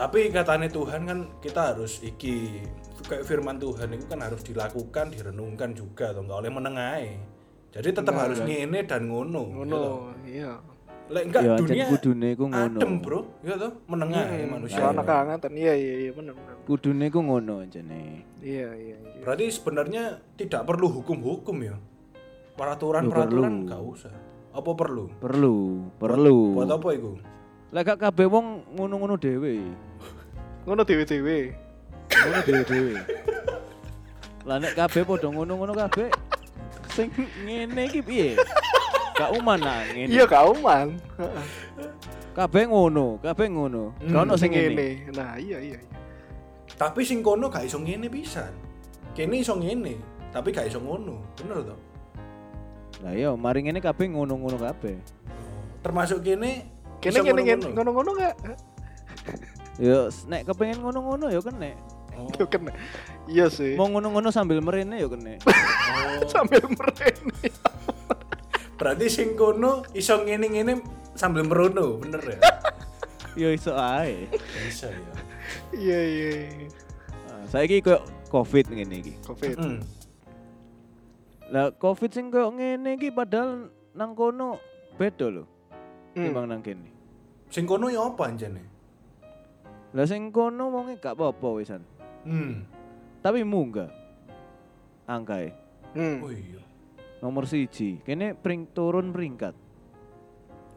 Speaker 1: tapi katanya Tuhan kan kita harus iki kayak firman Tuhan itu kan harus dilakukan direnungkan juga atau nggak oleh menengahe jadi tetap harus ngene dan ngono gitu
Speaker 3: ngono iya
Speaker 1: Lek enggak
Speaker 4: Ya,
Speaker 1: dunia
Speaker 4: jan kudune ku ngono.
Speaker 1: adem bro ya toh menengah ya manusia
Speaker 3: soal Hmm. anak angatan iya iya iya bener bener
Speaker 4: Kudune ku ngono jane.
Speaker 3: iya iya iya
Speaker 1: Berarti sebenarnya tidak perlu hukum-hukum ya. Peraturan-peraturan nggak usah. Apa perlu?
Speaker 4: Perlu, perlu.
Speaker 1: Buat apa itu?
Speaker 4: Lah gak kabeh wong ngono-ngono dhewe.
Speaker 3: ngono dewe-dewe
Speaker 4: Ngono dhewe-dhewe. Lah nek kabeh padha ngono-ngono kabeh sing ngene iki piye? Gak uman lah ngene.
Speaker 3: iya kau man
Speaker 1: Hmm.
Speaker 4: Kabeh ngono, kabeh ngono. Gak ono sing ngene.
Speaker 3: Hmm, ngene nah iya iya iya.
Speaker 1: Tapi sing kono gak iso ngene pisan. Kene iso ngene, tapi gak iso ngono. Bener toh?
Speaker 4: Lah iya, mari ngene kabeh ngono-ngono kabeh.
Speaker 1: Termasuk kene
Speaker 3: kene
Speaker 1: iso
Speaker 3: kene kene
Speaker 1: ngono-ngono.
Speaker 3: ngono ngono nggak
Speaker 4: Ya s- nek kepengin ngono-ngono ya kene.
Speaker 1: Oh,
Speaker 3: yo kena iya sih
Speaker 4: Mau ngono-ngono sambil merene ya kene.
Speaker 1: oh.
Speaker 3: sambil mereni
Speaker 1: Berarti sing kono iso ngene-ngene sambil merono, bener ya?
Speaker 4: Ya iso ae.
Speaker 1: Bisa ya.
Speaker 3: iya iya iya.
Speaker 4: Ah, Saiki koyo Covid ngene iki.
Speaker 3: covid
Speaker 1: Hmm.
Speaker 4: Lah Covid sing koyo ngene iki padahal nang kono beda lho
Speaker 3: Hmm.
Speaker 1: iya,
Speaker 4: timbang nang kene.
Speaker 1: Sing kono ya apa anjane?
Speaker 4: Lah sing kono wonge gak apa-apa wisan.
Speaker 1: Hmm.
Speaker 4: Tapi munggah. Angkae
Speaker 3: Hmm.
Speaker 1: Oh iya.
Speaker 4: nomor siji. Kene pring turun peringkat.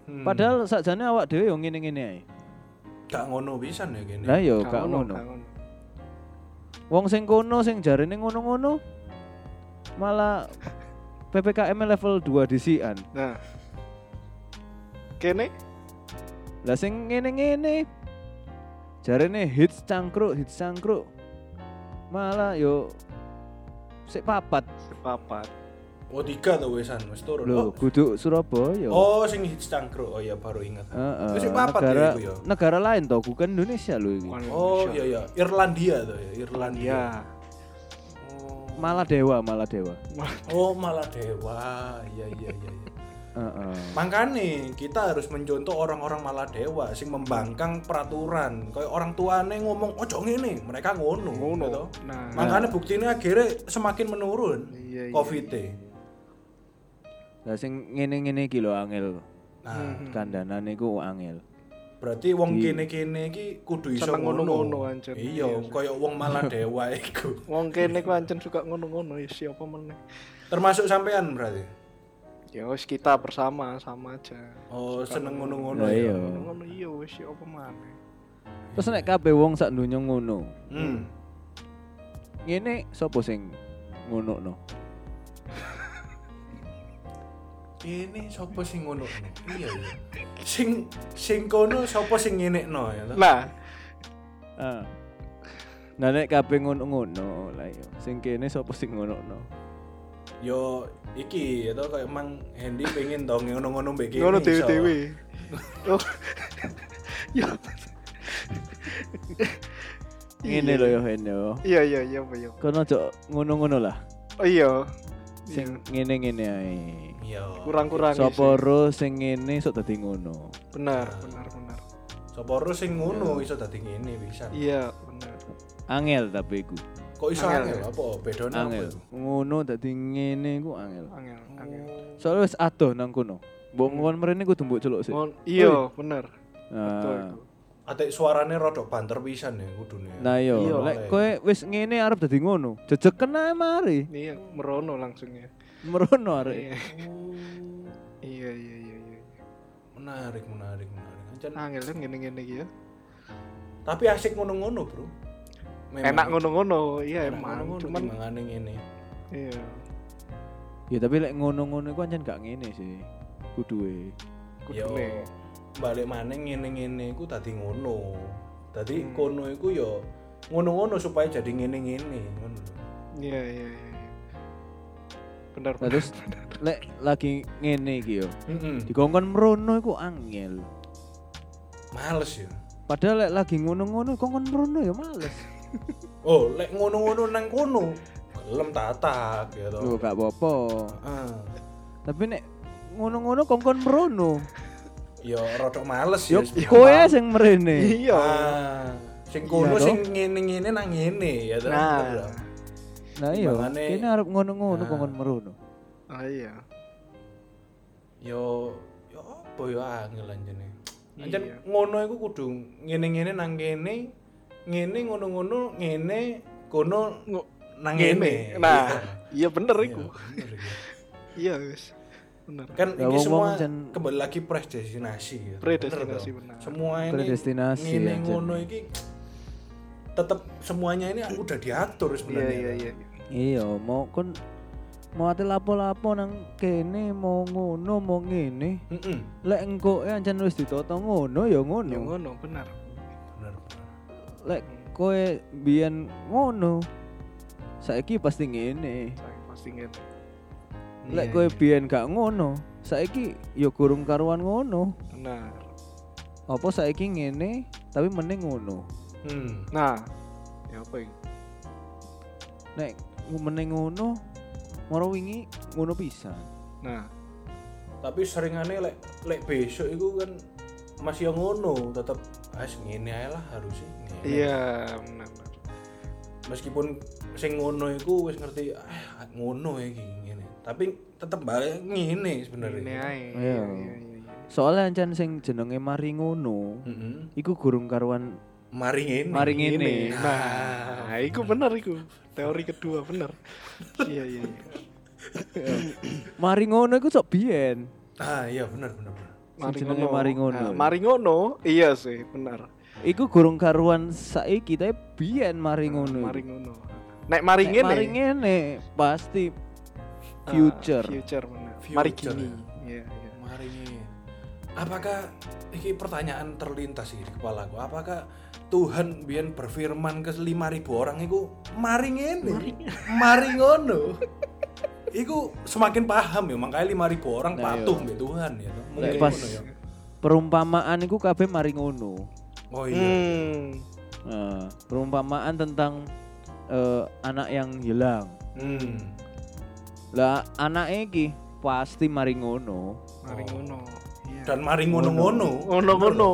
Speaker 1: Hmm.
Speaker 4: Padahal sakjane awak dhewe yo ngene-ngene ae.
Speaker 1: gak ngono pisan ya kene.
Speaker 4: Lah iya. yo
Speaker 3: Gak
Speaker 4: gak
Speaker 3: gak
Speaker 4: ngono. Wong sing kono sing jarene ngono-ngono malah PPKM level 2 disian.
Speaker 3: nah kene
Speaker 4: Lah sing ngene-ngene jarene hits cangkruk, hits cangkruk. Malah yo sik papat.
Speaker 3: papat
Speaker 1: Oh tiga tuh wesan, wis turun. Oh,
Speaker 4: Lho, kudu Surabaya.
Speaker 1: Oh, sing hits cangkruk. Oh iya baru ingat.
Speaker 4: Heeh.
Speaker 1: Terus yang papat ya
Speaker 4: negara,
Speaker 1: iku ya?
Speaker 4: negara lain toh, bukan Indonesia lho ini.
Speaker 1: Oh iya iya, Irlandia tuh ya, Irlandia.
Speaker 3: Irlandia
Speaker 1: Oh.
Speaker 4: Malah dewa, malah dewa.
Speaker 1: Oh, malah dewa. Iya iya iya. iya.
Speaker 4: Heeh.
Speaker 1: Makanya kita harus mencontoh orang-orang malah dewa sing membangkang peraturan. Kayak orang tuane ngomong ojo ngene, mereka ngono.
Speaker 3: Ngono.
Speaker 1: gitu.
Speaker 3: Nah.
Speaker 1: Makanya buktinya akhirnya semakin menurun
Speaker 3: Iya, iya,
Speaker 1: COVID-nya.
Speaker 4: Lah sing ngene-ngene iki lho angel.
Speaker 1: Nah,
Speaker 4: Hmm. Kandanan iku angel.
Speaker 1: berarti wong kene-kene iki kudu iso
Speaker 3: Seneng
Speaker 1: ngono.
Speaker 3: ngono-ngono, anjen.
Speaker 1: Iya, koyo wong malah dewa iku.
Speaker 3: wong kene ku ancen suka ngono-ngono ya siapa meneh
Speaker 1: Termasuk sampean berarti.
Speaker 3: ya wis kita bersama sama aja
Speaker 1: Oh, seneng ngono-ngono
Speaker 4: Lah iya.
Speaker 3: ngono-ngono iya wis siapa meneh
Speaker 4: Terus nek kabeh wong sak donya ngono.
Speaker 1: Hmm.
Speaker 4: Ngene sapa sing ngono no?
Speaker 1: Ini sapa sing ngono? Iya iya. Sing sing kono sapa sing ngenekno ya toh?
Speaker 3: nah
Speaker 4: Ah. Nah nek kabeh ngono-ngono lah yo. Sing kene sapa sing ngono no?
Speaker 1: Yo iki ya toh kayak emang Hendy pengen dong ngono-ngono mbek kene.
Speaker 3: ngono
Speaker 1: iso.
Speaker 3: dewe-dewe Oh. ya.
Speaker 4: Ini loh Yohen yo.
Speaker 3: Iya iya iya apa ya.
Speaker 4: Kono ojo ngono-ngono lah.
Speaker 3: Oh iya. Iya.
Speaker 4: Sing ngene-ngene ae.
Speaker 1: Iya.
Speaker 3: kurang-kurang ya,
Speaker 4: Sopo ro sing ngene sok dadi ngono.
Speaker 3: Benar, benar, benar.
Speaker 1: Sopo ro sing ngono iso dadi ngene bisa.
Speaker 3: Iya, benar.
Speaker 4: Angel tapi iku.
Speaker 1: Kok iso angel
Speaker 3: Angel.
Speaker 1: apa bedone apa
Speaker 4: Angel.
Speaker 1: itu?
Speaker 4: Ngono dadi ngene iku angel.
Speaker 3: Angel, angel.
Speaker 4: Soalnya wis adoh nang kono. Mbok ngon mrene kudu mbok celuk sih.
Speaker 3: Mon, iya, benar. Oh, Betul
Speaker 4: Nah,
Speaker 3: itu.
Speaker 1: Atik suarane rodok banter pisan ya kudune.
Speaker 4: nah
Speaker 3: Iya.
Speaker 4: yo, lek kowe wis ngene arep dadi ngono, jejeken ae mari.
Speaker 3: Ini yang Iya, merono langsung ya.
Speaker 4: Merono arek.
Speaker 3: Iya,
Speaker 1: Oh,
Speaker 3: iya, iya, iya. iya.
Speaker 1: menarik, menarik, menarik. Ancan-
Speaker 3: Angel kan gini-gini gitu ya.
Speaker 1: Tapi asik ngono-ngono, Bro.
Speaker 3: Enak ngono-ngono, iya
Speaker 1: Enak
Speaker 3: emang.
Speaker 1: ngono-ngono
Speaker 3: Cuman,
Speaker 1: timbangane ngene.
Speaker 3: iya.
Speaker 4: Ya tapi lek ngono-ngono iku anjen gak ngene sih. e. Kuduwe.
Speaker 1: Yo,
Speaker 3: Kudune.
Speaker 1: balik maneh ngene-ngene iku dadi ngono. Dadi
Speaker 3: Hmm.
Speaker 1: kono iku yo ngono-ngono supaya jadi ngene-ngene, ngono lho.
Speaker 3: Iya, iya, iya. iya. Benar,
Speaker 4: Nah,
Speaker 3: benar.
Speaker 4: terus lek lagi ngene iki yo.
Speaker 1: Heeh.
Speaker 4: Dikongkon merono iku angel.
Speaker 1: Males ya.
Speaker 4: Padahal lek lagi ngono-ngono kongkon merono ya males.
Speaker 1: Oh, lek ngono-ngono nang kono, gelem tatak ya Ah. to.
Speaker 4: Yo gak apa-apa.
Speaker 1: Heeh.
Speaker 4: Tapi nek ngono-ngono kongkon merono.
Speaker 1: Yo rodok males ya.
Speaker 4: Yo kowe ae
Speaker 1: sing
Speaker 4: sing mrene.
Speaker 3: Iya.
Speaker 1: sing kono
Speaker 4: Iya toh.
Speaker 1: sing ngene-ngene nang ngene ya to.
Speaker 3: Nah.
Speaker 4: Nah iya,
Speaker 1: Timbangane-
Speaker 4: kene arep ngono-ngono
Speaker 1: Nah.
Speaker 4: kongkon merono.
Speaker 3: Ah, iya.
Speaker 1: Yo yo apa yo ah, angel anjene. Anjen
Speaker 3: Iya.
Speaker 1: ngono iku kudu ngene-ngene nang kene, ngene ngono-ngono ngene kono
Speaker 3: Ngo-
Speaker 1: nang
Speaker 3: Ngene.
Speaker 1: ngene.
Speaker 3: Nah,
Speaker 1: Iya.
Speaker 3: iya bener
Speaker 1: Iya,
Speaker 3: iku.
Speaker 1: bener iku.
Speaker 3: Iya, guys. Bener.
Speaker 1: Kan
Speaker 4: Ya,
Speaker 1: ini
Speaker 4: wong-wong
Speaker 1: semua
Speaker 4: jan-
Speaker 1: kembali lagi predestinasi ya.
Speaker 3: Predestinasi,
Speaker 1: Bener,
Speaker 3: benar.
Speaker 1: toh? Semua ini
Speaker 4: Predestinasi,
Speaker 1: ngene
Speaker 4: anjen.
Speaker 1: ngono iki tetep semuanya ini udah diatur
Speaker 3: Iya,
Speaker 1: sebenarnya.
Speaker 3: iya, iya.
Speaker 4: Iya, mau kon mau ate lapo-lapo nang kene mau ngono mau ngene.
Speaker 1: Mm-mm.
Speaker 4: Lek engko anjen wis ditoto ngono ya
Speaker 3: Ya
Speaker 4: ngono.
Speaker 3: ngono, benar.
Speaker 1: Bener, bener.
Speaker 4: Lek kowe biyen ngono saiki pasti ngene.
Speaker 3: Saya pasti ngene.
Speaker 4: Lek
Speaker 1: Iya,
Speaker 4: kowe
Speaker 1: iya.
Speaker 4: biyen gak ngono, saiki ya gurung karuan ngono.
Speaker 3: Benar.
Speaker 4: Apa saiki ngene tapi mending ngono.
Speaker 1: Hmm.
Speaker 3: Nah, ya apa ini?
Speaker 4: Nek mending ngono moro wingi ngono pisan.
Speaker 3: Nah,
Speaker 1: tapi seringane lek lek besok itu kan masih yang ngono tetap as ngene ae lah harusnya ngene."
Speaker 3: iya benar.
Speaker 1: meskipun sing ngono itu wis ngerti ah ngono iki ngene tapi tetep balik ngene
Speaker 3: Benar. Ini
Speaker 1: sebenarnya
Speaker 3: ae.
Speaker 4: Iya.
Speaker 3: Iya, iya, iya. iya.
Speaker 4: Soalnya ancan sing jenenge mari ngono,
Speaker 1: Mm-mm.
Speaker 4: iku gurung karuan
Speaker 1: mari ngene
Speaker 4: mari ngene.
Speaker 3: Nah, iku bener iku. Teori kedua bener. iya, iya, iya.
Speaker 4: Mari ngono iku sok biyen.
Speaker 1: ah iya bener bener bener.
Speaker 4: Sing jenenge mari ngono.
Speaker 3: Nah, mari ngono, iya sih, benar.
Speaker 4: Iku gurung karuan saiki tapi biyen mari ngono.
Speaker 3: Nah, Mari ngono. Nek mari
Speaker 4: Nek
Speaker 3: ngene.
Speaker 4: mari ngene pasti
Speaker 3: ah,
Speaker 4: future.
Speaker 3: Future benar.
Speaker 1: Future.
Speaker 3: Mari gini. Iya, iya.
Speaker 1: mari ngene apakah iki pertanyaan terlintas iki di kepalaku apakah Tuhan biyen berfirman ke 5000 orang iku mari ngene mari ngono iku semakin paham ya makanya 5000 orang
Speaker 4: Nah,
Speaker 1: patuh
Speaker 4: iya.
Speaker 1: mbek Tuhan ya toh. mungkin
Speaker 4: Lek
Speaker 3: Iya,
Speaker 1: ngono
Speaker 4: pas-
Speaker 1: ya
Speaker 4: Perumpamaan iku kabeh mari ngono.
Speaker 1: oh iya
Speaker 3: Hmm.
Speaker 4: Nah, perumpamaan tentang eh, anak yang hilang.
Speaker 1: hmm.
Speaker 4: Lah anak iki pasti mari ngono.
Speaker 3: Mari
Speaker 1: Oh.
Speaker 3: ngono. Iya.
Speaker 1: dan mari ngono-ngono
Speaker 3: ngono-ngono.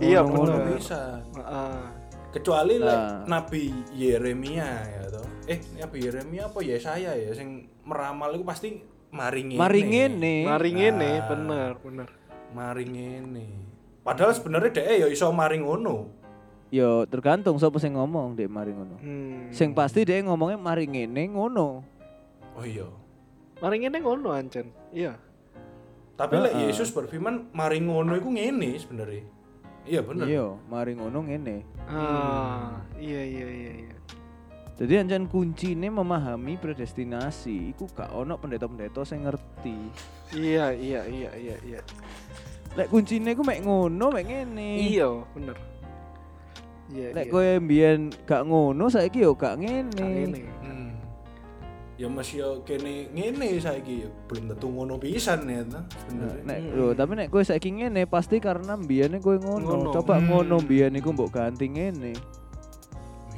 Speaker 3: Iya,
Speaker 4: Ngono-ngono
Speaker 1: ngono
Speaker 3: benar.
Speaker 1: bisa
Speaker 3: Heeh.
Speaker 1: kecuali lek
Speaker 4: Nah.
Speaker 1: Nabi Yeremia ya toh eh Nabi Yeremia apa Yesaya ya sing meramal itu pasti mari ngene
Speaker 4: Mari ngene.
Speaker 3: Mari ngene,
Speaker 1: Nah.
Speaker 3: bener, bener.
Speaker 1: mari ngene padahal sebenarnya dhek ya iso mari ngono
Speaker 4: Yo tergantung sapa sing ngomong dek mari ngono.
Speaker 3: Hmm.
Speaker 4: Sing pasti dek ngomongnya mari ngene ngono.
Speaker 1: oh iya
Speaker 3: mari ngene ngono ancen. Iya.
Speaker 1: tapi lek
Speaker 4: Heeh.
Speaker 1: Yesus berfirman mari ngono iku ngene sebenarnya iya bener
Speaker 4: Iya, mari ngono ngene.
Speaker 3: Ah, iya iya iya iya.
Speaker 4: Jadi ancan kuncine memahami predestinasi. Iku gak ono pendeta-pendeta sing ngerti.
Speaker 3: Iya iya iya iya iya.
Speaker 4: Lek kuncine ku mek ngono, mek ngene.
Speaker 3: Iya, bener. Iya.
Speaker 4: Hmm. Lek
Speaker 3: iya.
Speaker 4: kowe mbiyen gak ngono, saiki yo gak
Speaker 3: Kang
Speaker 4: ngene.
Speaker 3: ini.
Speaker 1: Hmm. ya masih yo kene ngene saiki yo belum tentu ngono pisan ya ta
Speaker 3: Hmm.
Speaker 1: sebenarnya
Speaker 4: Nek, Nah, lho, tapi nek kowe saiki ngene pasti karena mbiyane kowe ngono.
Speaker 3: Ngono.
Speaker 4: Coba
Speaker 3: Hmm.
Speaker 4: ngono mbiyane iku mbok ganti ngene.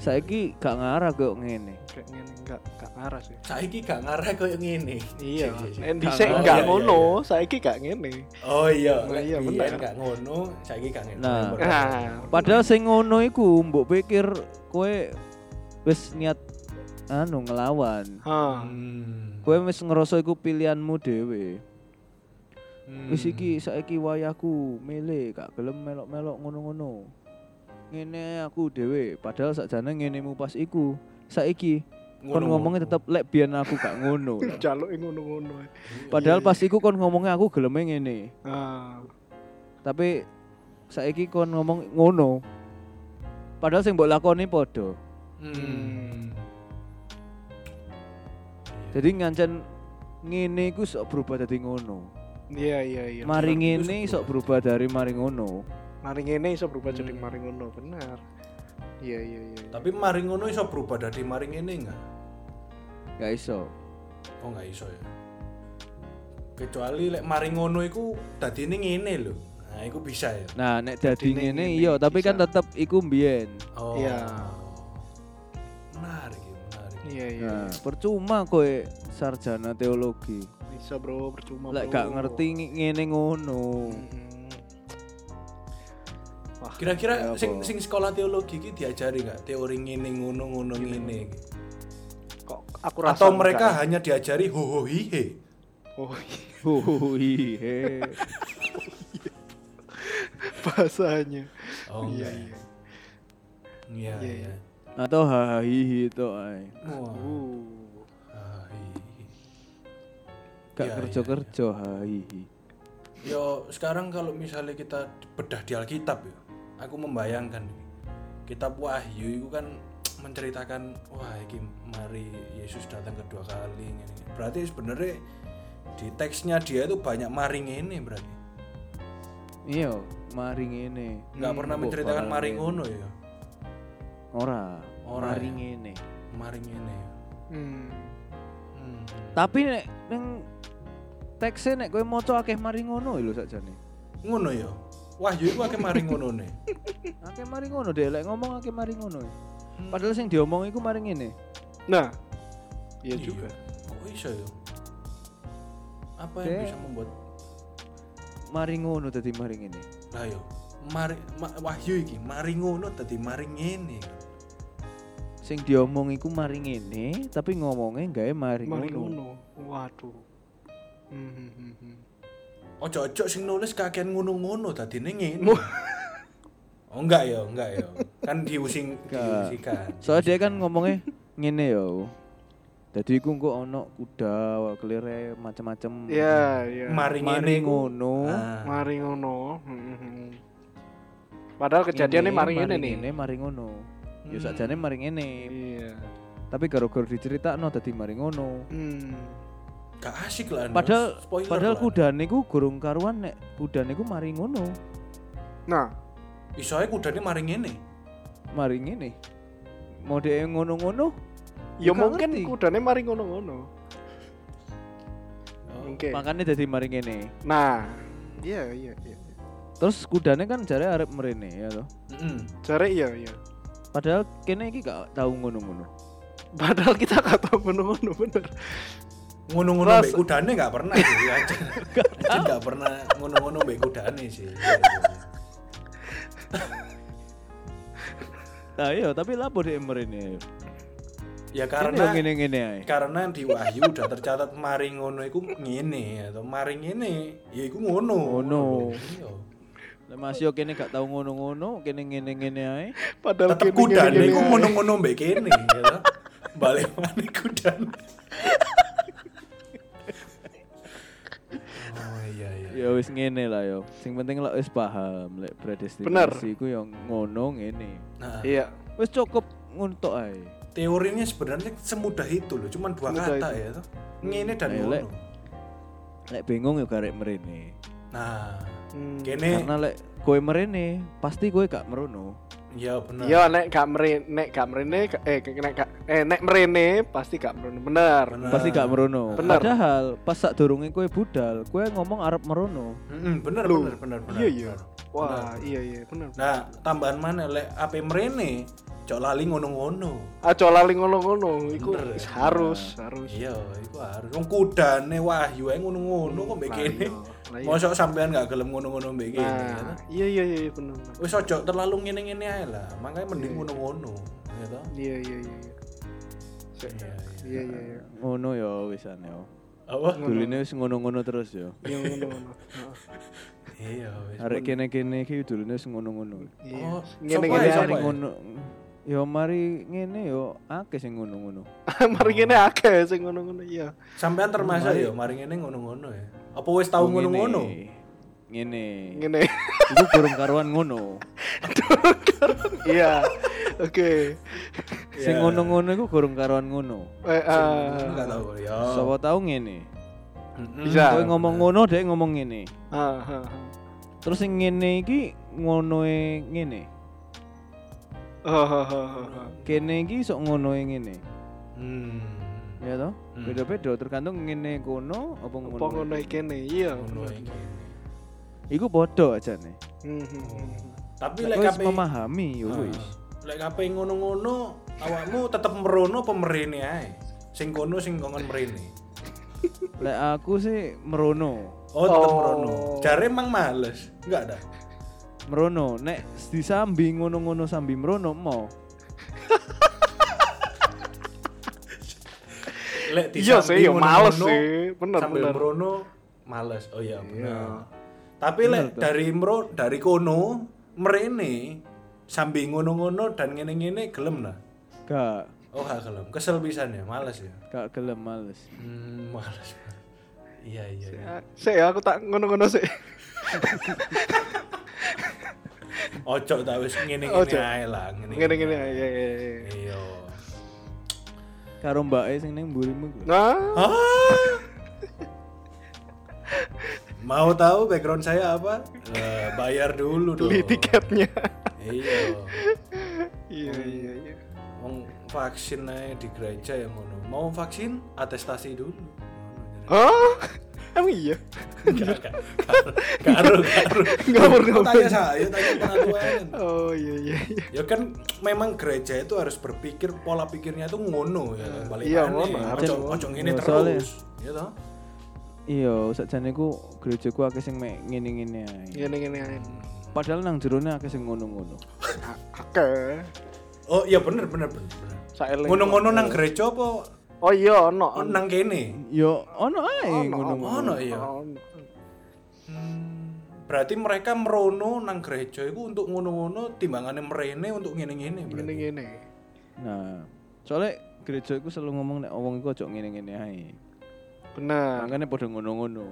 Speaker 4: Saiki gak ngarah kok ngene.
Speaker 3: kayak ngene nggak nggak arah sih
Speaker 1: saiki gak ngarah koyo ngene
Speaker 3: iya
Speaker 1: Cek, cek.
Speaker 3: nek dhisik
Speaker 1: Nggak
Speaker 3: nggak
Speaker 1: ngarah.
Speaker 3: ngono saiki gak ngene
Speaker 1: oh iya
Speaker 3: Oh,
Speaker 1: nek
Speaker 3: iya,
Speaker 1: biyen
Speaker 3: bener.
Speaker 1: gak ngono saiki gak ngene
Speaker 4: Nah.
Speaker 3: nah
Speaker 4: Padahal sing ngono iku mbok pikir kowe wis niat anu ngelawan.
Speaker 3: Hah.
Speaker 1: Hmm.
Speaker 4: Kowe wis ngerasa iku pilihanmu dhewe.
Speaker 1: Hmm.
Speaker 4: Wis iki saiki wayahku milih gak gelem melok-melok ngono-ngono. Ngene aku dhewe, padahal sakjane ngenemu pas iku. Saiki kon
Speaker 1: Ngono-ngono.
Speaker 4: ngomongnya tetep lek biyen aku gak ngono. lah.
Speaker 3: jaluk ngono-ngono
Speaker 1: Hmm.
Speaker 4: Padahal pas iku kon ngomongnya aku geleme ngene.
Speaker 3: ah
Speaker 4: Tapi saiki kon ngomong ngono. Padahal sing mbok lakoni padha.
Speaker 1: Hmm.
Speaker 4: Jadi ngancen ngene iku sok berubah dadi ngono.
Speaker 3: iya iya iya
Speaker 4: Mari
Speaker 1: bener, iku
Speaker 4: ngene
Speaker 1: sok
Speaker 4: sok berubah dari mari ngono.
Speaker 3: mari ngene iso berubah
Speaker 1: Hmm.
Speaker 3: jadi mari ngono benar iya iya iya
Speaker 1: tapi mari ngono iso berubah dari mari ngene enggak
Speaker 4: Gak iso.
Speaker 1: oh enggak iso ya kecuali lek mari ngono iku dadine ngene lho nah iku bisa ya
Speaker 4: Nah, nek dadi
Speaker 3: Dadine
Speaker 4: ngene
Speaker 3: ngene
Speaker 4: iya, tapi kan
Speaker 3: bisa.
Speaker 4: tetep iku mbiyen.
Speaker 1: oh
Speaker 3: Iya.
Speaker 1: menarik ya, menarik
Speaker 3: iya iya
Speaker 4: Nah, percuma kowe sarjana teologi.
Speaker 3: bisa bro percuma
Speaker 4: Lek
Speaker 3: bro. Hmm.
Speaker 4: gak ngerti nge- ngene ngono.
Speaker 1: Hmm.
Speaker 3: Mm-mm. wah
Speaker 1: kira-kira
Speaker 4: Ya,
Speaker 3: Iya,
Speaker 1: sing
Speaker 4: apa?
Speaker 1: sing sekolah teologi ki diajari nggak teori ngene ngono ngono ngene iki?
Speaker 3: kok aku rasa
Speaker 1: atau
Speaker 3: enggak
Speaker 1: mereka
Speaker 3: ya.
Speaker 1: hanya diajari hohohihe
Speaker 3: oh iya.
Speaker 4: Oh, iya.
Speaker 3: bahasanya
Speaker 1: oh
Speaker 3: iya
Speaker 1: enggak
Speaker 3: iya
Speaker 1: iya
Speaker 3: Iya,
Speaker 1: iya
Speaker 4: Atau hahihi to ae.
Speaker 1: Wah,
Speaker 3: uh
Speaker 1: hahihi.
Speaker 4: Gak
Speaker 1: Iya,
Speaker 4: kerja-kerja hahihi.
Speaker 1: Yo sekarang kalau misalnya kita bedah di Alkitab ya, aku membayangkan ini. kitab Wahyu itu kan menceritakan wah iki mari Yesus datang kedua kali ngene. Berarti sebenarnya di teksnya dia itu banyak maring ini berarti.
Speaker 4: Iya, mari ngene.
Speaker 1: Nggak pernah
Speaker 4: kok
Speaker 1: menceritakan
Speaker 4: bakal
Speaker 1: maring
Speaker 4: ngene.
Speaker 1: ngono ya.
Speaker 4: Ora,
Speaker 1: Ora,
Speaker 4: mari
Speaker 1: ya.
Speaker 4: ngene.
Speaker 1: Maring ini.
Speaker 3: hmm.
Speaker 1: Hmm.
Speaker 4: Tapi nek ning tekse nek kowe maca akeh mari ngono lho sakjane.
Speaker 1: Ngono ya. Wahyu itu akeh maring ngono nih.
Speaker 4: Akeh mari ngono deh, lek ngomong akeh mari ngono. Padahal sing diomong iku mari ngene.
Speaker 3: nah iya juga
Speaker 1: Kok iso ya? Apa yang
Speaker 4: Dek.
Speaker 1: bisa membuat
Speaker 4: Mari ngono dadi mari ngene.
Speaker 1: Lah yo, mari ma- wahyu iki mari ngono dadi mari ngene.
Speaker 4: Sing diomong iku mari ngene, tapi ngomongnya gawe mari
Speaker 3: mari
Speaker 4: ngono.
Speaker 3: ngono waduh Hmm, hmm, hmm, hmm.
Speaker 1: Ojo-ojo sing nulis kakean ngono-ngono dadine ngene. oh enggak yo, enggak yo. Kan diusing
Speaker 4: Enggak.
Speaker 1: diusikan.
Speaker 4: Soalnya dia kan ngomongnya ngene ya. Jadi iku kok ono kuda, kelire macam-macam.
Speaker 3: iya iya
Speaker 1: mari ngene
Speaker 4: Mari
Speaker 1: iku.
Speaker 4: ngono.
Speaker 1: Ah,
Speaker 3: mari ngono Hmm, hmm, hmm. padahal kejadiannya
Speaker 4: Ngene,
Speaker 3: mari ngene nih
Speaker 4: ngene, mari ngono. Ya
Speaker 1: Hmm.
Speaker 4: sakjane mari ngene,
Speaker 3: iya
Speaker 4: tapi gara-gara diceritakno dadi mari ngono.
Speaker 3: hmm.
Speaker 1: Gak asik lah. Anda.
Speaker 4: Padahal
Speaker 1: Spoiler
Speaker 4: padahal
Speaker 1: lah.
Speaker 4: kudane ku gurung karuan nek kudane ku mari ngono.
Speaker 3: nah
Speaker 1: iso ae kudane mari ngene.
Speaker 4: Mari ngene. Mode ngono-ngono.
Speaker 3: ya
Speaker 4: Nggak
Speaker 3: mungkin
Speaker 4: ngerti.
Speaker 3: kudane mari ngono-ngono mungkin
Speaker 4: Makanya dadi mari ngene.
Speaker 3: nah iya iya iya
Speaker 4: Terus kudane kan jare arep mrene ya toh.
Speaker 1: Heeh.
Speaker 3: cari iya iya
Speaker 4: Padahal kene iki gak tau ngono-ngono.
Speaker 3: padahal kita gak tau ngono-ngono bener
Speaker 1: Ngono-ngono
Speaker 3: Ras-
Speaker 1: mbek kudane gak pernah sih. Aja Aja gak pernah ngono-ngono mbek kudane sih.
Speaker 4: Nah iya, tapi lapo dhek mrene.
Speaker 1: Ya
Speaker 4: Karena
Speaker 1: karena
Speaker 4: ngene-ngene ae.
Speaker 1: karena di Wahyu udah tercatat mari ngono iku ngene atau mari ngene ya iku ngono
Speaker 4: Ngono.
Speaker 1: Iya.
Speaker 4: Nek Mas yo kene gak tau ngono-ngono, kene ngene-ngene ae.
Speaker 3: padahal
Speaker 1: tetep
Speaker 3: kene-
Speaker 1: kuda
Speaker 3: kene-
Speaker 1: iku
Speaker 3: kene-
Speaker 1: ngono ngono mbek kene ya toh. balik mana kuda oh iya iya
Speaker 4: Ya wis ngene lah yo. Sing penting lek wis paham lek
Speaker 3: Bener.
Speaker 4: predestinasi iku yo ngono ngene.
Speaker 1: nah
Speaker 3: iya
Speaker 4: Wis cukup nguntuk ae.
Speaker 1: teorinya sebenarnya semudah itu loh cuman dua
Speaker 3: Semudah
Speaker 1: kata ya toh ngene dan
Speaker 4: Nah,
Speaker 1: ngono
Speaker 4: lek- Lek bingung yo karek mrene.
Speaker 1: nah
Speaker 3: Hmm.
Speaker 1: kene
Speaker 4: Karena lek kowe mrene, pasti kowe gak merono.
Speaker 1: Iya benar.
Speaker 3: Iya nek gak merene, nek gak merene, eh nek gak, eh nek merene pasti gak merene bener.
Speaker 1: Bener.
Speaker 4: Pasti gak merono.
Speaker 3: Bener.
Speaker 4: Padahal pas sak durunge kowe budal, kowe ngomong arep merono.
Speaker 1: Mm-mm, bener,
Speaker 3: Loh.
Speaker 1: bener bener bener.
Speaker 3: Iya, iya.
Speaker 1: bener.
Speaker 3: Wah, iya iya bener.
Speaker 1: Nah tambahan mana lek apa merene? Cok lali ngono-ngono.
Speaker 3: Aja lali ngono-ngono, iku
Speaker 1: Bener.
Speaker 3: harus, harus.
Speaker 1: Iya, itu harus. Wong kudane wahyu ae ngono-ngono kok mbek
Speaker 3: Lah
Speaker 1: kene.
Speaker 3: iya, lah iya.
Speaker 1: Mosok sampean gak gelem ngono-ngono mbek kene. ya
Speaker 3: Nah,
Speaker 1: toh?
Speaker 3: iya iya iya bener. bener.
Speaker 1: Wis ojo terlalu ngene-ngene ae lah. Makanya mending ngono-ngono, ya toh?
Speaker 3: Iya iya iya. iya. Sik.
Speaker 1: Iya, iya.
Speaker 3: Iya iya iya.
Speaker 4: Ngono ya wisan ya.
Speaker 1: Apa?
Speaker 4: Dulune wis ngono-ngono terus ya.
Speaker 3: Iya
Speaker 1: Oh,
Speaker 3: ngono-ngono. Heeh.
Speaker 1: Iya, wis.
Speaker 4: Arek kene-kene iki dulune wis ngono-ngono.
Speaker 3: Iya.
Speaker 1: Oh,
Speaker 3: Ngene-ngene
Speaker 1: Siapa
Speaker 4: Mari
Speaker 1: ya?
Speaker 3: ae.
Speaker 4: ngono. Ya mari ngene yo akeh sing ngono-ngono.
Speaker 3: Mari ngene
Speaker 1: Oh.
Speaker 3: akeh sing ngono-ngono iya.
Speaker 1: Sampean termasuk ya mari ngene ngono-ngono ya. Apa wis tau
Speaker 4: Ngene.
Speaker 1: ngono-ngono?
Speaker 4: Ngene.
Speaker 3: Ngene.
Speaker 4: Iku burung karuan ngono.
Speaker 3: Iya. Oke.
Speaker 4: Sing ngono-ngono iku burung karuan ngono.
Speaker 3: Eh,
Speaker 1: Ngono
Speaker 3: ah.
Speaker 1: Iya. Gak tau ya.
Speaker 4: Sapa tau ngene.
Speaker 1: Mm-mm. Nah.
Speaker 3: Bisa.
Speaker 4: Kowe ngomong ngono, dhek ngomong ngene.
Speaker 3: Ah, ah, ah.
Speaker 4: Terus sing ngene iki ngonoe ngene.
Speaker 3: Ah, ah, ah, ah, ah.
Speaker 4: Kene iki sok ngonoe ngene.
Speaker 1: Hmm.
Speaker 4: Ya toh?
Speaker 1: Hmm.
Speaker 4: Beda-beda tergantung ngene kono apa ngono.
Speaker 3: Apa ngono iki kene? Iya.
Speaker 1: Ngono ae kene.
Speaker 4: Iku bodoh aja nih.
Speaker 3: Hmm, hmm, hmm.
Speaker 1: Tapi lek
Speaker 4: Wis
Speaker 1: kabeh
Speaker 4: memahami yo wis.
Speaker 1: Ah. Lek kabeh ngono-ngono, awakmu tetep merono apa merene ae? Sing kono sing kongon merene.
Speaker 4: Lek aku sih merono.
Speaker 1: Oh, tetep
Speaker 3: Oh.
Speaker 1: merono. Jare emang males. Enggak ada.
Speaker 4: Merono nek disambi ngono-ngono sambi merono mau.
Speaker 1: Lek
Speaker 3: Iya
Speaker 1: disambi
Speaker 3: sih, ya males
Speaker 1: ngono-ngono,
Speaker 3: sih. Bener
Speaker 1: Sambil
Speaker 3: bener.
Speaker 1: merono males. Oh iya, bener. Tapi lek dari mro dari kono merene sambil ngono-ngono dan ngene-ngene gelem lah.
Speaker 4: Gak
Speaker 1: Oh, gak gelem. Kesel pisan ya, males ya.
Speaker 4: gak gelem males.
Speaker 1: Hmm, males. Iya, iya. iya.
Speaker 3: Ah, Sik ya, aku tak ngono-ngono sik.
Speaker 1: Ojo tak wis ngene-ngene
Speaker 3: Ojo.
Speaker 1: ae lah, ngene.
Speaker 3: Ngene-ngene ae, iya iya iya.
Speaker 1: Iya.
Speaker 4: Karo mbake sing ning mburimu iku lho.
Speaker 3: Nah,
Speaker 1: Ah. Mau tahu background saya apa? Eh, bayar dulu dong.
Speaker 3: beli tiketnya.
Speaker 1: Iya.
Speaker 3: Iya
Speaker 1: Hmm.
Speaker 3: iya iya.
Speaker 1: Wong vaksin aja di gereja yang ngono. Mau vaksin atestasi dulu.
Speaker 3: Hah? Emang iya?
Speaker 1: Enggak, enggak. Karo, karo.
Speaker 3: Ngawur, ngawur.
Speaker 1: Tanya saya, tanya pengetahuan.
Speaker 3: Oh iya iya iya.
Speaker 1: Ya kan memang gereja itu harus berpikir pola pikirnya itu ngono ya kan. Balik
Speaker 3: Iya,
Speaker 1: aneh.
Speaker 3: ngono, harus
Speaker 1: Ojo-
Speaker 3: ngono.
Speaker 1: Ojo ngene
Speaker 4: Iya, soalnya-
Speaker 1: terus. Iya toh?
Speaker 4: Iya, sakjane ku gerejaku akeh sing mek ngene-ngene ae.
Speaker 3: Ngene-ngene ae.
Speaker 4: Padahal nang jerone akeh sing ngono-ngono.
Speaker 3: Akeh.
Speaker 1: Oh iya bener bener bener. bener.
Speaker 3: Saeling.
Speaker 1: Ngono-ngono nang gereja apa
Speaker 3: Oh iya ono. ono.
Speaker 1: nang kene?
Speaker 4: Yo ono ae ngono-ngono.
Speaker 1: Ngono iya.
Speaker 3: Ono.
Speaker 1: Berarti mereka merono nang gereja itu untuk ngono-ngono timbangannya merene untuk ngene-ngene berarti.
Speaker 3: Ngene-ngene.
Speaker 4: Nah, soalnya gereja iku selalu ngomong nek wong iku ojo ngene-ngene ae.
Speaker 3: Bener.
Speaker 4: Makane padha ngono-ngono.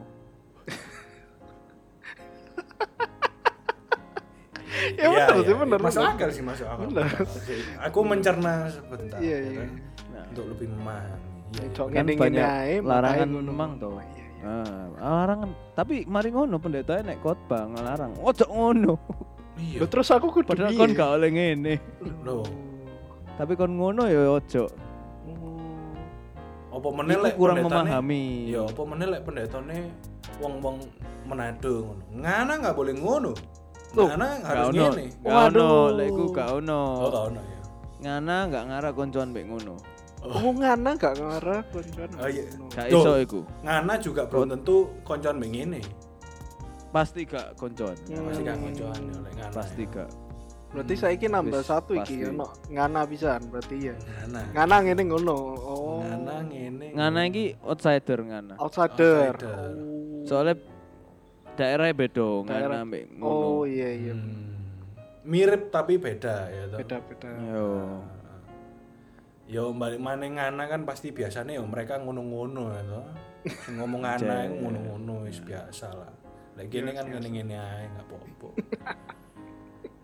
Speaker 1: Iya,
Speaker 3: Ya, bener sih,
Speaker 1: iya.
Speaker 3: bener,
Speaker 1: Masuk
Speaker 3: bener.
Speaker 1: akal sih, masuk akal. Aku mencerna sebentar.
Speaker 3: Iya,
Speaker 1: ya
Speaker 3: iya.
Speaker 1: kan? Untuk lebih memahami. Iya, iya.
Speaker 3: Cok
Speaker 4: Kan
Speaker 3: ngene-ngene
Speaker 4: banyak
Speaker 3: ae. makanya
Speaker 4: larangan
Speaker 3: ngono-ngono.
Speaker 4: emang toh.
Speaker 3: Iya, iya.
Speaker 4: Ah, larangan. Tapi mari ngono pendeta nek khotbah ngelarang. Ojo ngono.
Speaker 1: Iya.
Speaker 3: Loh, terus aku kudu
Speaker 4: Padahal
Speaker 3: piye?
Speaker 4: kon gak oleh ngene.
Speaker 1: Loh,
Speaker 4: Tapi kon ngono ya ojo.
Speaker 3: Oh.
Speaker 1: apa meneh
Speaker 4: Iku
Speaker 1: lek
Speaker 4: kurang
Speaker 1: pendetane-
Speaker 4: memahami.
Speaker 1: Iya, apa meneh lek pendetane wong-wong Manado ngono. Ngana nggak boleh ngono. Ngana harus
Speaker 4: Gak ono.
Speaker 1: ngene.
Speaker 4: Gak ono, lek iku gak ono.
Speaker 1: Oh, gak ono ya.
Speaker 4: Ngana gak ngara koncoan mbek ngono.
Speaker 3: Wong Oh, ngana gak kan? ngarah koncoan.
Speaker 1: Oh, iya.
Speaker 4: Gak
Speaker 1: Duh.
Speaker 4: iso iku.
Speaker 1: Ngana juga belum tentu koncoan mbek ngene.
Speaker 4: Pasti gak koncoan.
Speaker 1: Pasti gak koncoan ya lek ngana.
Speaker 4: Hmm. Pasti gak.
Speaker 3: Hmm. Berarti saiki nambah
Speaker 4: Wis,
Speaker 3: satu iki ya,
Speaker 4: pasti.
Speaker 3: ono ngana pisan berarti ya.
Speaker 1: Ngana.
Speaker 3: Ngana ngene ngono. Oh.
Speaker 1: Ngana ngene.
Speaker 4: Ngana iki outsider ngana.
Speaker 3: Outsider.
Speaker 1: Outsider.
Speaker 4: Soalnya daerahnya beda ngana
Speaker 3: Daerah.
Speaker 4: mbek ngono.
Speaker 3: Oh iya iya.
Speaker 1: Hmm. mirip tapi beda ya toh.
Speaker 3: Beda-beda.
Speaker 4: Yo.
Speaker 1: Yo balik mana ngana kan pasti biasanya yo mereka ngono-ngono ya toh. Sing Ngomong ngana iku ngono-ngono wis biasa lah. Lek gini kan ngene-ngene ae enggak apa-apa.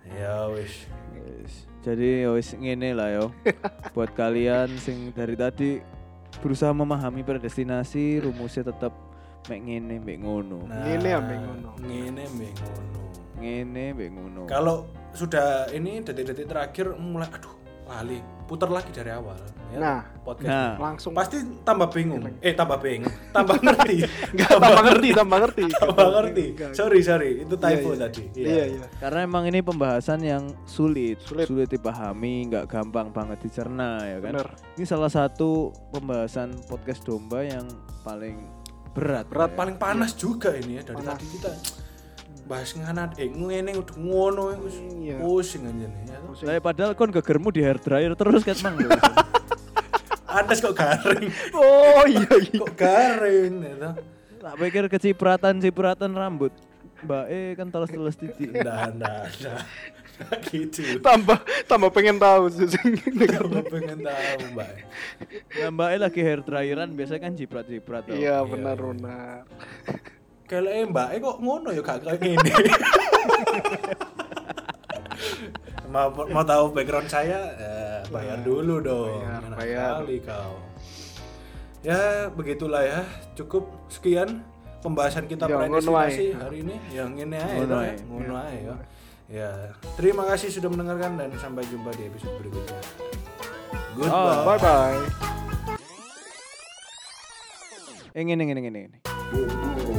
Speaker 1: ya wis.
Speaker 4: Yes. Jadi ya wis ngene lah yo. Buat kalian sing dari tadi berusaha memahami predestinasi, rumusnya tetap mek ngene mek ngono.
Speaker 1: Nah,
Speaker 3: Ngene ambek ngono.
Speaker 1: Ngene ambek ngono.
Speaker 3: Oh.
Speaker 4: Ngene mek ngono.
Speaker 1: Kalau sudah ini detik-detik terakhir mulai aduh lali putar lagi dari awal ya
Speaker 3: Nah.
Speaker 1: podcast
Speaker 4: Nah,
Speaker 3: langsung
Speaker 1: pasti tambah bingung eh tambah bingung tambah ngerti
Speaker 3: Nggak, tambah ngerti tambah ngerti
Speaker 1: tambah ngerti
Speaker 3: Nggak.
Speaker 1: sorry sorry itu typo
Speaker 3: Iya, iya.
Speaker 1: tadi Iya.
Speaker 3: iya iya
Speaker 4: Karena emang ini pembahasan yang sulit,
Speaker 3: Sulit.
Speaker 4: sulit, dipahami, nggak gampang banget dicerna ya kan.
Speaker 3: bener
Speaker 4: Ini salah satu pembahasan podcast domba yang paling berat.
Speaker 1: berat
Speaker 4: ya.
Speaker 1: paling panas juga ini ya dari
Speaker 3: Iya. Panas.
Speaker 1: tadi kita bahas nganan eh ngene udah ngono eh, wis
Speaker 3: Iya.
Speaker 1: pusing aja nih ya toh.
Speaker 4: Lah, padahal kon gegermu di hair dryer terus kan mang.
Speaker 1: Andes kok garing
Speaker 4: oh iya iya.
Speaker 1: kok garing ya toh.
Speaker 4: Tak pikir kecipratan cipratan rambut. Mbak eh kan teles-teles titik.
Speaker 1: nah nah nah Nah, gitu
Speaker 3: tambah tambah pengen tahu sih
Speaker 1: Tambah pengen tahu mbak
Speaker 4: Nah, Mbak eh lagi hair dryeran biasanya kan jiprat-jiprat tau.
Speaker 3: iya benar benar
Speaker 1: kalau mbak eh kok ngono ya gak kayak gini mau mau tahu background saya eh, bayar dulu dong
Speaker 3: Bayar,
Speaker 1: Enak
Speaker 3: Iya. bayar.
Speaker 1: sekali kau ya begitulah ya cukup sekian pembahasan kita
Speaker 3: Ya,
Speaker 1: pada
Speaker 3: ngono ae. iya.
Speaker 1: destinasi hari ini yang ini aja
Speaker 4: Ngono
Speaker 1: toh ya.
Speaker 4: ae.
Speaker 1: ngono ae ya ya terima kasih sudah mendengarkan dan sampai jumpa di episode berikutnya goodbye
Speaker 3: bye bye
Speaker 4: Eh ngene ngene ngene. ngene.
Speaker 1: Bu- bu-